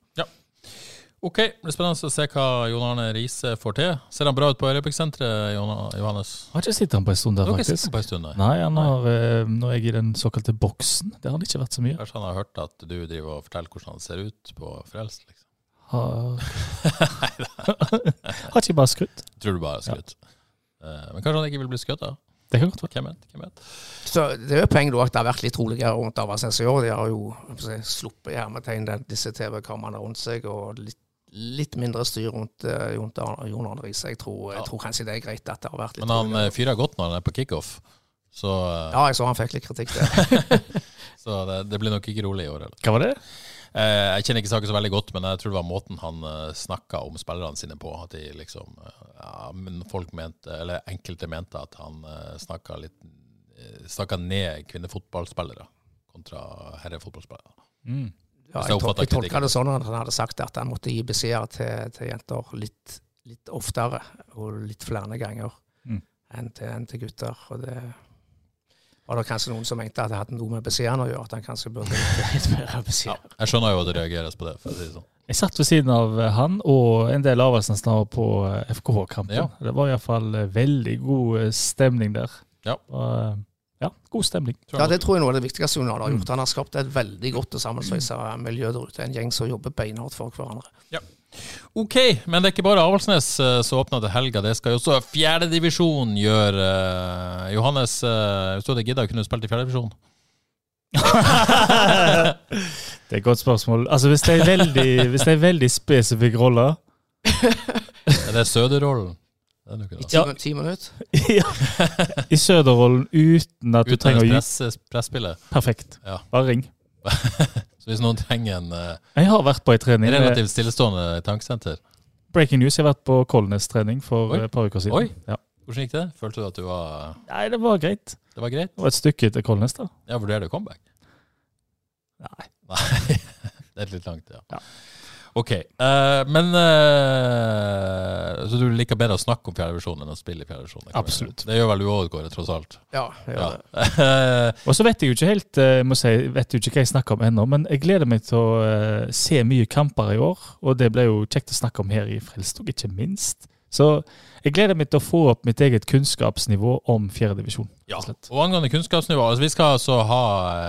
A: Ok, det blir spennende å se hva Jon Arne Riise får til. Ser han bra ut på Rødbekksenteret, Jon- Johannes?
B: Jeg har ikke sett han på en stund
A: Du
B: der,
A: har ikke sett
B: faktisk.
A: ham på en stund? nei.
B: Nei, han har, eh, når jeg er i den såkalte boksen, der har han ikke vært så mye.
A: Kanskje han har hørt at du driver og forteller hvordan han ser ut på Frelst? liksom.
B: Har, har ikke bare skrudd.
A: Tror du bare er skutt. Eh, Men kanskje han ikke vil bli skutt, da?
B: Det kan godt være.
A: Hvem vet? Hvem vet?
C: Så Det er jo et poeng da at det har vært litt roligere rundt Alversnes i år. De har jo hva skal jeg si, sluppet i hermetegn den- disse TV-kameraene rundt seg, og litt, litt mindre styr rundt eh, Jon Arne- Jon Arne Riise. Jeg, tror- jeg
A: Ja.
C: tror kanskje det er greit at det har vært litt
A: Men han
C: roligere.
A: eh, fyrer godt når han er på kickoff, så, eh,
C: Ja, jeg så han fikk litt kritikk der.
A: så det, det blir nok ikke rolig i år heller.
B: Hva var det?
A: Eh, Jeg kjenner ikke saken så veldig godt, men jeg tror det var måten han eh, snakka om spillerne sine på. At de liksom eh, ja, men folk mente, eller enkelte mente at han eh, snakka litt eh, Snakka ned kvinnefotballspillere kontra herrefotballspillere.
B: Mm.
C: Ja, jeg
A: Hvis jeg
C: tol-
A: oppfatter
C: jeg tolka
A: kritikken.
C: det sånn at han hadde sagt at han måtte gi beskjeder til, til jenter litt, litt oftere og litt flere ganger
B: Mm.
C: enn, til, enn til gutter. Og det var det kanskje noen som mente at det hadde noe med beskjedene å gjøre, at han kanskje burde litt, litt mer
A: Ja,
C: beskjeder.
A: jeg skjønner jo at det reageres på det. For å si det sånn.
B: Jeg satt ved siden av eh, han og en del av Avaldsnes da på eh, FKH-kampen.
A: Ja.
B: Det var iallfall veldig god eh, stemning der.
A: Ja.
B: Og, eh, ja, god stemning.
A: Tror
C: Ja,
A: han-
C: det tror jeg er noe av det viktigste Jon Arne har gjort. Han har skapt et veldig godt og sammensveisa miljø der ute. En gjeng som jobber beinhardt for hverandre.
A: Ok, men det er ikke bare Avaldsnes eh, som åpner til helga. Det skal jo også fjerdedivisjon gjøre. eh, Johannes, eh, hvis du hadde gidda, kunne du spilt i fjerdedivisjon?
B: Det er et godt spørsmål. Altså, Hvis det er veldig, hvis det er veldig spesifikk rolle
A: Er det Søderrollen? Det er det jo ikke det.
C: Ti, min- ti minutter.
B: ja. I Søderrollen uten at du
A: Uten
B: trenger å gi
A: press, presspillet.
B: Perfekt.
A: Ja.
B: Bare ring.
A: Så hvis noen trenger en eh,
B: Jeg har vært på ei trening. med-
A: Relativt stillestående tanksenter.
B: Breaking news, jeg har vært på Kolnes trening for
A: Oi.
B: eh, et par uker siden.
A: Oi.
B: Ja.
A: Hvordan gikk det? Følte du at du var,
B: Nei, det var greit.
A: det var greit?
B: Det var et stykke til Kolnes, da.
A: Ja, vurderer du comeback?
B: Nei.
A: Nei. Det er litt langt, ja.
B: Ja.
A: Ok. eh, men eh, Så du liker bedre å snakke om fjerdedivisjon enn å spille i fjerdedivisjon?
B: Absolutt.
A: Det gjør vel du òg, Kåre, tross alt?
C: Ja, jeg gjør
A: Ja.
C: det.
B: Og så vet jeg jo ikke helt eh, jeg må si, vet jo ikke hva jeg snakker om ennå, men jeg gleder meg til å eh, se mye kamper i år. Og det ble jo kjekt å snakke om her i Frelstog, ikke minst. Så jeg gleder meg til å få opp mitt eget kunnskapsnivå om fjerdedivisjon.
A: Ja. Og angående kunnskapsnivå, altså vi skal altså ha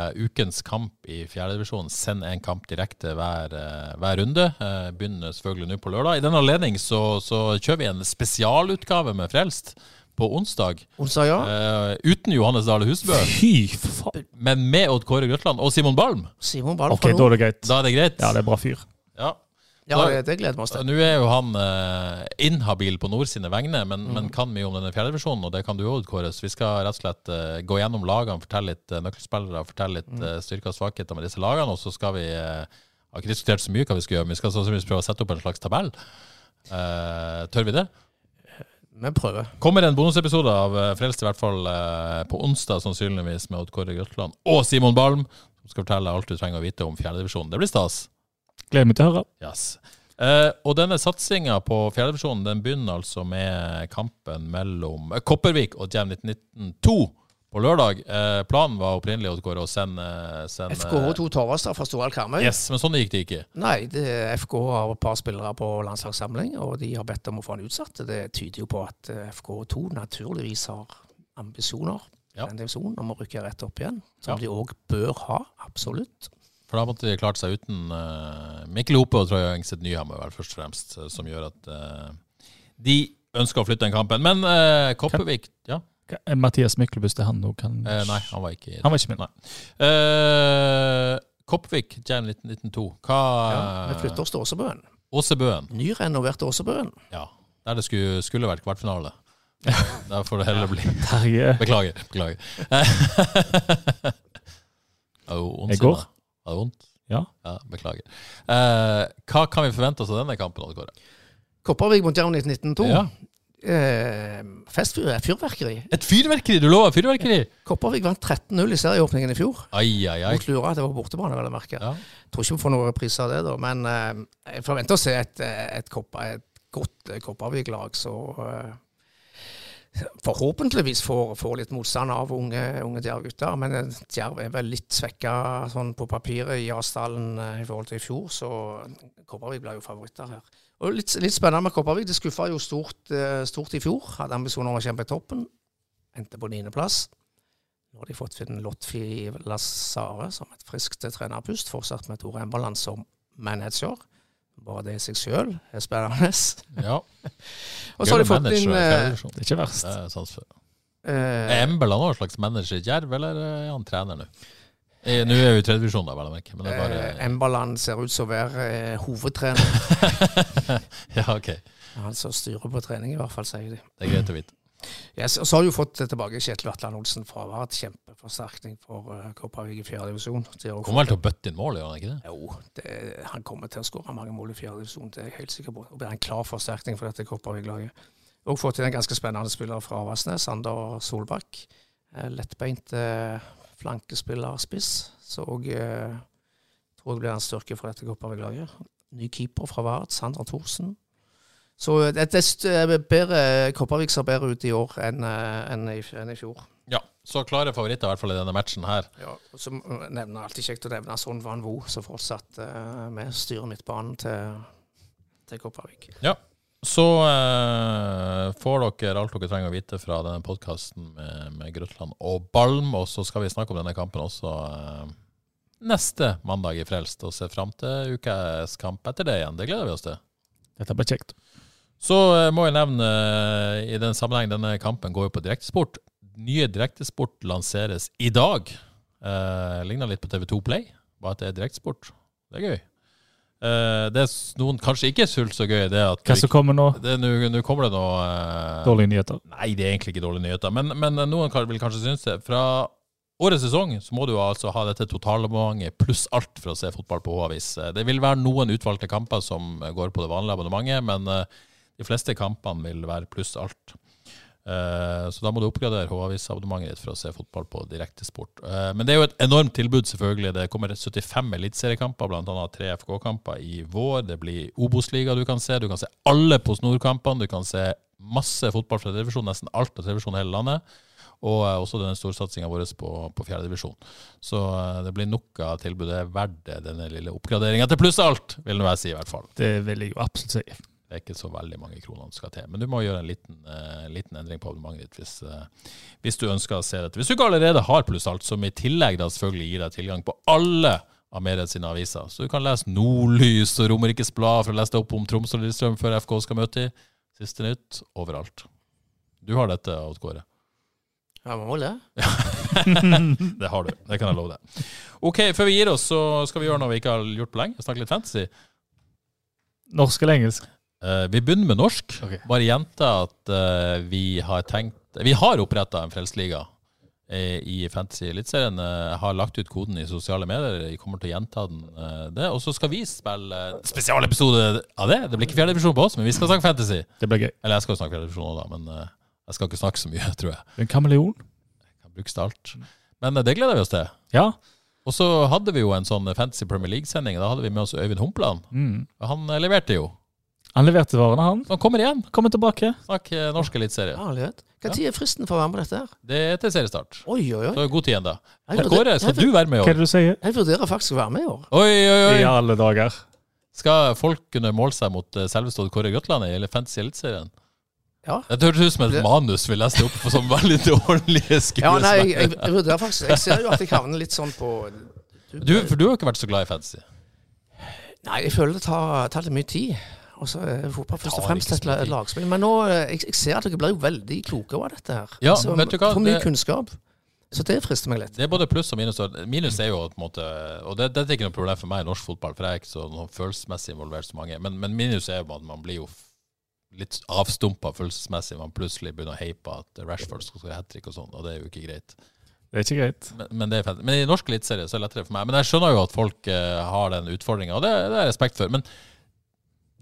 A: eh, ukens kamp i fjerdedivisjon. Send en kamp direkte hver, eh, hver runde. Eh, begynner selvfølgelig nå på lørdag. I den anledning så, så kjører vi en spesialutgave med Frelst på onsdag.
C: Onsdag, ja.
A: Eh, uten Johannes Dale Husbø,
B: Fy faen!
A: men med Odd Kåre Grøtland og Simon Balm.
C: Simon Ball
B: Ok,
C: fra
B: da
C: nord.
B: er det greit.
A: Da er det greit.
B: Ja, det er bra fyr.
A: Ja.
C: Ja, det, det gleder vi oss
A: Så
C: til.
A: Nå er jo han eh, inhabil på Nord sine vegne, men, men kan mye om denne fjerdedivisjonen, og det kan du òg, Kåre. Så vi skal rett og slett eh, gå gjennom lagene, fortelle litt eh, nøkkelspillere, fortelle litt eh, styrker og svakheter med disse lagene, og så skal vi eh, har ikke diskutert så mye hva vi skal gjøre, men vi skal sannsynligvis prøve å sette opp en slags tabell. Eh, tør vi det?
C: Vi prøver.
A: Kommer en bonusepisode av eh, Frelst, i hvert fall eh, på onsdag, sannsynligvis, med Odd Kåre Grøtland og Simon Balm, som skal fortelle alt du trenger å vite om fjerdedivisjonen. Det blir stas.
B: Gleder meg til å høre.
A: Yes. Eh, og denne satsinga på fjerdedivisjonen den begynner altså med kampen mellom eh, Kopervik og Jam 1919 2 på på lørdag. Eh, planen var opprinnelig å gå og sende, sende
C: FKH to Torvastad fra Storhall Karmøy.
A: eh, Yes, men sånn gikk det ikke.
C: Nei, det, FK har et par spillere på landslagssamling, og de har bedt om å få han utsatt. Det tyder jo på at eh, FK2 naturligvis har ambisjoner
A: Ja.
C: den divisjonen om å rykke rett opp igjen, som
A: Ja.
C: de òg bør ha, absolutt.
A: For da måtte de klart seg uten eh, Mikkel Hope og Troja Engstedt Nyhammer, vel, først og fremst, eh, som gjør at eh, de ønsker å flytte den kampen. Men eh, Koppevik ja,
B: Hva- eh, Mathias Myklebust, det er han nå kan
A: eh, Nei, han var ikke
B: Han var ikke med.
A: Eh, Koppvik, Jan 1992. Hva
C: Ja,
A: Eh.
C: vi flytter oss til Åsebøen.
A: Åsebøen.
C: Nyrenovert Åsebøen.
A: Ja. Der det skulle, skulle vært kvartfinale. Der får det heller bli.
B: Terje
A: Beklager. Beklager. Det er jo vondt,
B: Jeg går.
A: Sina. Er det vondt?
B: Ja.
A: ja beklager. Eh, hva kan vi forvente oss av denne kampen? Odd Kåre?
C: Kopervik mot Jerv 1992.
A: Ja.
C: Eh, festfyr er fyrverkeri.
A: Et fyrverkeri! Du lover fyrverkeri!
C: Kopervik vant 13-0 i serieåpningen i fjor.
A: Ai, ai, ai.
C: Mot Lura, det var på bortebane, vel å merke.
A: Ja.
C: tror ikke vi får noen repriser av det, da, men eh, jeg forventer å se et, eh, et, Koppa- et godt eh, Kopervik-lag som eh, forhåpentligvis får, får litt motstand av unge, unge Djerv-gutter. Men eh, Djerv er vel litt svekka sånn, på papiret i Asdalen eh, i forhold til i fjor, så Kopervik blir jo favoritter her. Og litt, litt spennende med Kopervik. Det skuffa jo stort, eh, stort i fjor. Hadde ambisjoner om å kjempe i toppen. Endte på niendeplass. Nå har de fått Finn Lotfi Lazare som et friskt trenerpust, fortsatt med Tore Emberland som manager. Bare det i seg sjøl er spennende.
A: Ja.
C: Og så har de
A: Gjør det
C: fått
A: manager,
C: inn
A: det er
C: eh,
A: tradisjon.
B: Det er ikke verst.
A: Det er sans for.
C: eh,
A: Er Embel han noen slags manager i Djerv, eller er han trener nå? Eh, Nå er jo i tredjevisjon, da, vel å merke. Men det er
C: eh,
A: bare
C: Emberland ser ut som å være eh, hovedtrener.
A: Ja, OK. Det
C: Han som styrer på trening, i hvert fall, sier de.
A: er greit å vite.
C: Yes, og så har de jo fått tilbake Kjetil Atland Olsen fra å være et kjempeforsterkning for eh, Kopervik i fjerde divisjon. De har jo
A: Kommer
C: fått-
A: vel til å bøtte inn mål, gjør han ikke det?
C: Jo, det, han kommer til å skåre mange mål i fjerde divisjon, det er jeg helt sikker på. Det blir en klar forsterkning for dette Kopervik-laget. Og fått inn en ganske spennende spiller fra Avaldsnes, Sander Solbakk. Eh, Lettbeint eh, flankespiller spiss, så òg eh, tror jeg blir en styrke for dette Kopervik-laget. Ny keeper fra Vard, Sander Thorsen. Så eh, det, det er bedre, Kopervik ser bedre ut i år enn, eh, enn, i, enn i fjor.
A: Ja. Så klare favoritter, i hvert fall i denne matchen her.
C: Ja, og så nevner alltid kjekt å nevne Son Van Vo, som fortsatt eh, med styrer midtbanen til, til Kopervik.
A: Så eh, får dere alt dere trenger å vite fra denne podkasten med, med Grøtland og Balm, og så skal vi snakke om denne kampen også eh, neste mandag i Frelst, og se fram til ukas kamp etter det igjen. Det gleder vi oss til.
B: Dette blir kjekt.
A: Så eh, må jeg nevne eh, i den sammenheng denne kampen går jo på direktesport. Nye direktesport lanseres i dag. Eh, Ligner litt på TV2 Play, bare at det er direktesport. Det er gøy. Eh, det s- noen kanskje ikke syns så gøy, det er at du
B: Hva som kommer nå?
A: ikke- det er nå nå kommer det noe eh,
B: Dårlige nyheter.
A: Nei, det er egentlig ikke dårlige nyheter, men, men noen kan- vil kanskje synes det. Fra årets sesong så må du altså ha dette totalabonnementet pluss alt for å se fotball på H-avis. Eh, Det vil være noen utvalgte kamper som går på det vanlige abonnementet, men eh, de fleste kampene vil være pluss alt. Eh, Så da må du oppgradere H-avis-abonnementet ditt for å se fotball på direktesport. Eh, Men det er jo et enormt tilbud, selvfølgelig. Det kommer 75 eliteseriekamper, bl.a. tre FK-kamper i vår. Det blir Obos-liga du kan se. Du kan se alle på Snor-kampene. Du kan se masse fotball fra televisjon, nesten alt av televisjon i hele landet. Og eh, også den storsatsinga vår på, på fjerdedivisjon. Så eh, det blir nok av tilbud. Det er verdt det, denne lille oppgraderinga til pluss alt, vil nå jeg si i hvert fall.
B: Det vil jeg jo absolutt si.
A: Det er ikke så veldig mange kronene som skal til. Men du må gjøre en liten, eh, liten endring på abonnementet ditt hvis, eh, hvis du ønsker å se dette. Hvis du ikke allerede har Pluss Alt, som i tillegg da selvfølgelig gir deg tilgang på alle av Mediet sine aviser, så du kan lese Nordlys og Romerikes Blad for å lese deg opp om Troms og Lillestrøm før FK skal møte dem. Siste nytt overalt. Du har dette, Odd Kåre.
C: Ja, vi må det.
A: Det har du. Det kan jeg love deg. OK, før vi gir oss, så skal vi gjøre noe vi ikke har gjort på lenge. Snakke litt fantasy.
B: Norsk eller engelsk?
A: Eh, vi begynner med norsk.
B: Ok.
A: Bare gjenta at eh, vi har tenkt Vi har oppretta en Frelsesliga eh, i Fantasy Eliteserien. Uh, har lagt ut koden i sosiale medier. Jeg kommer til å gjenta den. eh, det. Og så skal vi spille eh, spesialepisode av det. Det blir ikke fjerdedivisjon på oss, men vi skal snakke fantasy.
B: Det blir gøy.
A: Eller jeg skal jo snakke fjerdedivisjon òg, da, men eh, jeg skal ikke snakke så mye, tror jeg.
B: En kameleon?
A: Kan brukes til alt. Men eh, det gleder vi oss til.
B: Ja.
A: Og så hadde vi jo en sånn Fantasy Premier League-sending. Da hadde vi med oss Øyvind Humpland.
B: Mm.
A: Han eh, leverte jo.
B: Han leverte varene, han.
A: Så han kommer igjen.
B: Kommer tilbake.
A: Snakk eh, norsk eliteserie.
C: Herlighet. Når er fristen for å være med på dette? her?
A: Det er til seriestart.
C: Oi, oi, oi.
A: Så det er god tid ennå.
C: Jeg
A: Tor
C: vurderer-
A: Kåre, skal
C: jeg vurderer-
A: du være med i
B: Hva er
A: år?
B: det du sier?
C: Jeg vurderer faktisk å være med i år.
A: Oi, oi,
B: I
A: oi!
B: alle dager.
A: Skal folk kunne måle seg mot eh, selveste Odd Kåre Grøtland i eller Fantasy Eliteserien?
C: Ja.
A: Det høres ut som et
C: Det-
A: manus vi leste opp for som veldig
C: Ja, nei,
A: dårlige
C: jeg,
A: skuespillere.
C: jeg, jeg vurderer faktisk Jeg ser jo at jeg havner litt sånn på
A: Du, for du har jo ikke vært så glad i fantasy.
C: Nei, jeg føler det tar, tar litt mye tid. Og så er fotball først og
A: Tar
C: fremst
A: ikke
C: et
A: så mye tid.
C: lagspill. Men nå, eh, jeg, jeg ser at dere blir jo veldig klokere av dette her. Altså,
A: Ja, vet du hva,
C: For mye
A: det-
C: kunnskap. Så det frister meg litt.
A: Det er både pluss og minus. og Minus er jo på en måte Og det, dette er ikke noe problem for meg i norsk fotball, for jeg er ikke så noe følelsesmessig involvert så mange. Men, men minus er jo at man blir jo f- litt avstumpa følelsesmessig. Man plutselig begynner å heie på at Rashford skal skåre hat trick og sånn, og det er jo ikke greit.
B: Det er ikke greit.
A: Men, men, det er fett. men i norsk eliteserie så er det lettere for meg. Men jeg skjønner jo at folk eh, har den utfordringa, og det, det har jeg respekt for. Men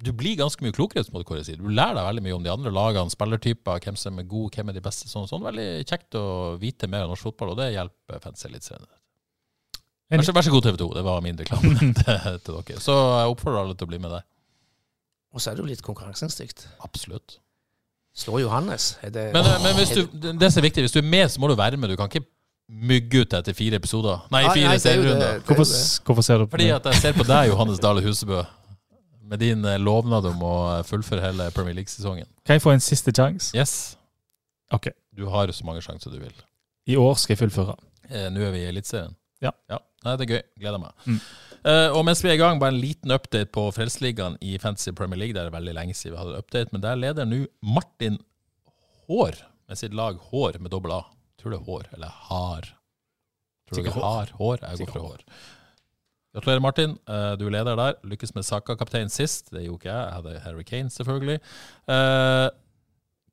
A: du blir ganske mye klokere, som Odd Kåre sier. Du lærer deg veldig mye om de andre lagene, spillertyper, hvem som er god, hvem er de beste, sånn og sånn. Veldig kjekt å vite mer om norsk fotball, og det hjelper fans eliteserien. Vær så, vær så god, TV 2. Det var min reklame til, til dere. Så jeg oppfordrer alle til å bli med der.
C: Og så er det jo litt konkurranseinstinkt.
A: Absolutt.
C: Slår Johannes. Er det,
A: Men, eh, men hvis du, det som er viktig, hvis du er med, så må du være med. Du kan ikke mygge ut deg etter fire episoder. Nei,
C: Ah,
A: fire
C: nei, det er jo det-
A: serierunder.
C: det er jo
B: Hvorfor,
C: det.
B: hvorfor ser du på
A: Fordi
B: det?
A: at jeg ser på deg, Johannes Dale Husebø, med din eh, lovnad om å eh, fullføre hele Premier League-sesongen.
B: Kan jeg få en siste sjanse?
A: Yes.
B: Ok.
A: Du har så mange sjanser du vil.
B: I år skal jeg fullføre.
A: Eh, Nå er vi i Eliteserien.
B: Ja.
A: Nei, det er gøy. Gleder meg.
B: Mm.
A: Eh, og mens vi er i gang, bare en liten update på Frelsesligaen i Fantasy Premier League. Det er veldig lenge siden vi hadde update, men der leder nå Martin Hår med sitt lag Hår med dobbel A. Tror det er Hår, eller Har. Tror du
B: Sikkert
A: det er Har? Hår? Jeg går for Hår. Gratulerer, Martin. Eh, Du er leder der. Lykkes med Saka-kapteinen sist. Det gjorde ikke jeg. Jeg hadde Harry Kane, selvfølgelig. Eh,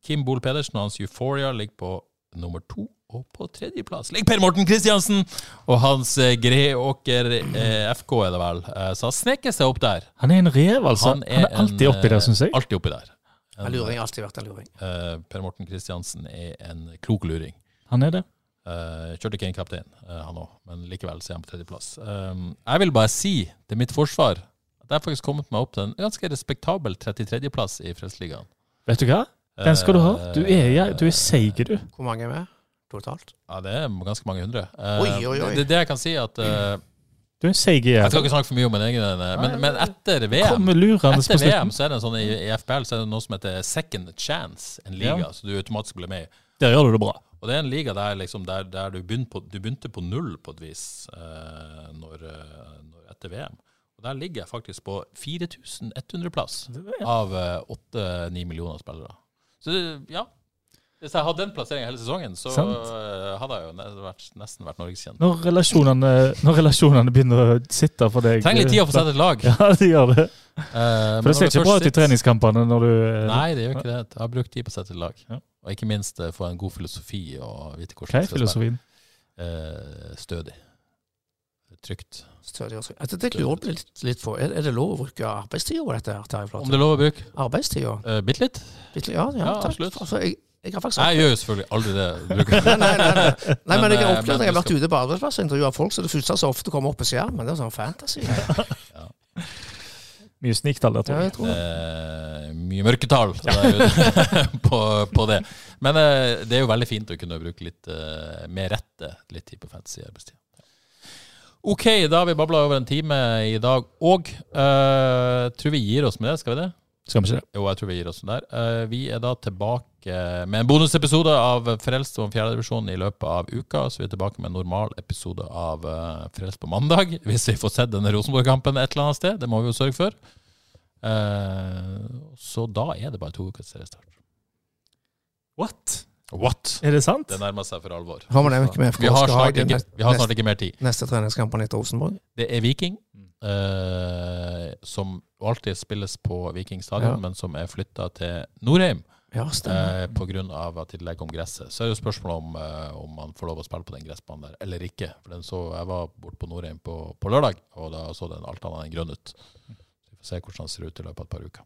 A: Kim Bohl Pedersen og hans Euphoria ligger på nummer to. Og på tredjeplass ligger Per Morten Kristiansen! Og hans eh, Greåker eh, FK, er det vel. Eh, så han sneker seg opp der.
B: Han er en rev, altså. Han er, alltid
A: en,
B: oppi
A: eh,
B: der, syns jeg.
A: Alltid oppi der. En,
C: En luring har alltid vært en luring.
A: eh, per Morten Kristiansen er en klok luring.
B: Han er det.
A: Eh, kjørte ikke en kaptein, eh, han òg, men likevel så er han på tredjeplass. Um, jeg vil bare si til mitt forsvar at jeg har faktisk kommet meg opp til en ganske respektabel 33.-plass i Frelsesligaen.
B: Vet du hva? Den skal du ha. Du er, ja, du er seig, du.
C: Hvor mange er med totalt?
A: Ja, det er ganske mange hundre. Eh,
C: Oi, oi, oi.
A: Det, det jeg kan si at eh,
B: Du er en seig
A: Jeg skal
B: jævel.
A: ikke snakke for mye om min egen, eh, men, men etter VM
B: Kommer lurende på
A: etter VM
B: slutten.
A: så er det en sånn i, i FPL så er det noe som heter second chance, en liga
B: Ja.
A: så du automatisk blir med i.
B: Der gjør du det bra.
A: Og det er en liga der, liksom, der, der du, begynte på, du begynte på null på et vis eh, når, eh, når etter VM. Og der ligger jeg faktisk på 4100 plass av eh, 8-9 millioner spillere. Så det- ja. Hvis jeg hadde den plasseringen hele sesongen, så
B: Sant.
A: eh, hadde jeg jo ne vært, nesten vært norgeskjent.
B: Når relasjonene, når relasjonene begynner å sitte for deg
A: Trenger litt tid å få sett et lag.
B: Ja, de gjør det.
A: Eh, men
B: For
A: når
B: det ser ikke
A: først
B: bra ut i
A: sitter-
B: treningskampene når du eh,
A: Nei, det gjør ikke det. Jeg har brukt tid på å sette et lag.
B: Ja.
A: Og ikke minst eh, få en god filosofi og vite hvordan
B: Hva er
A: jeg skal spille.
B: filosofien?
A: Eh, stødig. Trygt.
C: Stødig og trygt. Det lurer jeg litt, litt på. Er, er det lov å bruke arbeidstida på dette? her, Terje Flate?
A: Om det er lov å bruke?
C: Arbeidstida?
A: Uh, Bitte litt?
C: Bitte- Ja, ja,
A: Ja,
C: takk.
A: absolutt.
C: Altså, jeg, jeg har faktisk
A: Jeg gjør jo selvfølgelig aldri det. Bruker.
C: nei, nei, nei, nei. nei, men jeg
A: Men,
C: har
A: eh,
C: opplevd at jeg har
A: men
C: vært ute på arbeidsplass og intervjua folk, så det første som ofte kommer opp på skjermen, det er sånn fantasy. Ja,
B: Mye sniktall der, tror jeg.
C: jeg tror det.
A: Eh, mye mørketall så det er jo- på, på det. Men eh, det er jo veldig fint å kunne bruke litt eh, med rette litt tid på fantasy i arbeidstida. OK, da har vi babla over en time i dag òg. Eh, tror vi gir oss med det, skal vi det?
B: Skal vi ikke det?
A: Jo, jeg tror vi gir oss den der. Eh, vi er da tilbake med en bonusepisode av Frelst om fjerdedivisjon i løpet av uka. Så vi er tilbake med en normal episode av eh, Frelst på mandag. Hvis vi får sett denne Rosenborg-kampen et eller annet sted. Det må vi jo sørge for. Eh, så da er det bare to uker til seriestart.
B: What?
A: What?
B: Er det sant?
A: Det nærmer seg for alvor.
C: Har vi nevnt med FK
A: Vi har
C: skal ha
A: snart
C: i
A: ikke,
C: neste,
A: vi har snart ikke mer tid.
C: neste treningskampen etter Rosenborg?
A: Det er Viking, eh, som alltid spilles på Viking stadion,
C: Ja.
A: men som er flytta til Norheim.
C: Ja, stemmer.
A: Eh, på grunn av at de legger om gresset. Så er det jo spørsmålet om, eh, om man får lov å spille på den gressbanen der, eller ikke. For den så, Jeg var borte på Norheim på, på lørdag, og da så den alt annet enn grønn ut. Så Vi får se hvordan den ser ut i løpet av et par uker.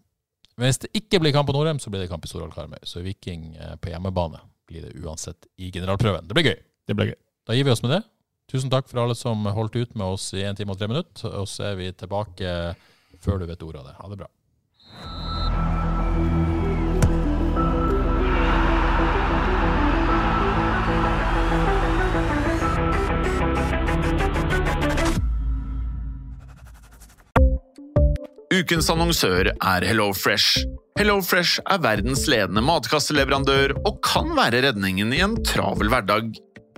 A: Men hvis det ikke blir kamp på Norheim, så blir det kamp i Storhall Karmøy. Så Viking eh, på hjemmebane blir det uansett i generalprøven. Det blir gøy.
B: Det blir gøy.
A: Da gir vi oss med det. Tusen takk for alle som holdt ut med oss i 1 time og 3 minutter. Og så er vi tilbake før du vet ordet av det. Ha det bra.
D: Ukens annonsør er HelloFresh. HelloFresh er verdens ledende matkasseleverandør og kan være redningen i en travel hverdag.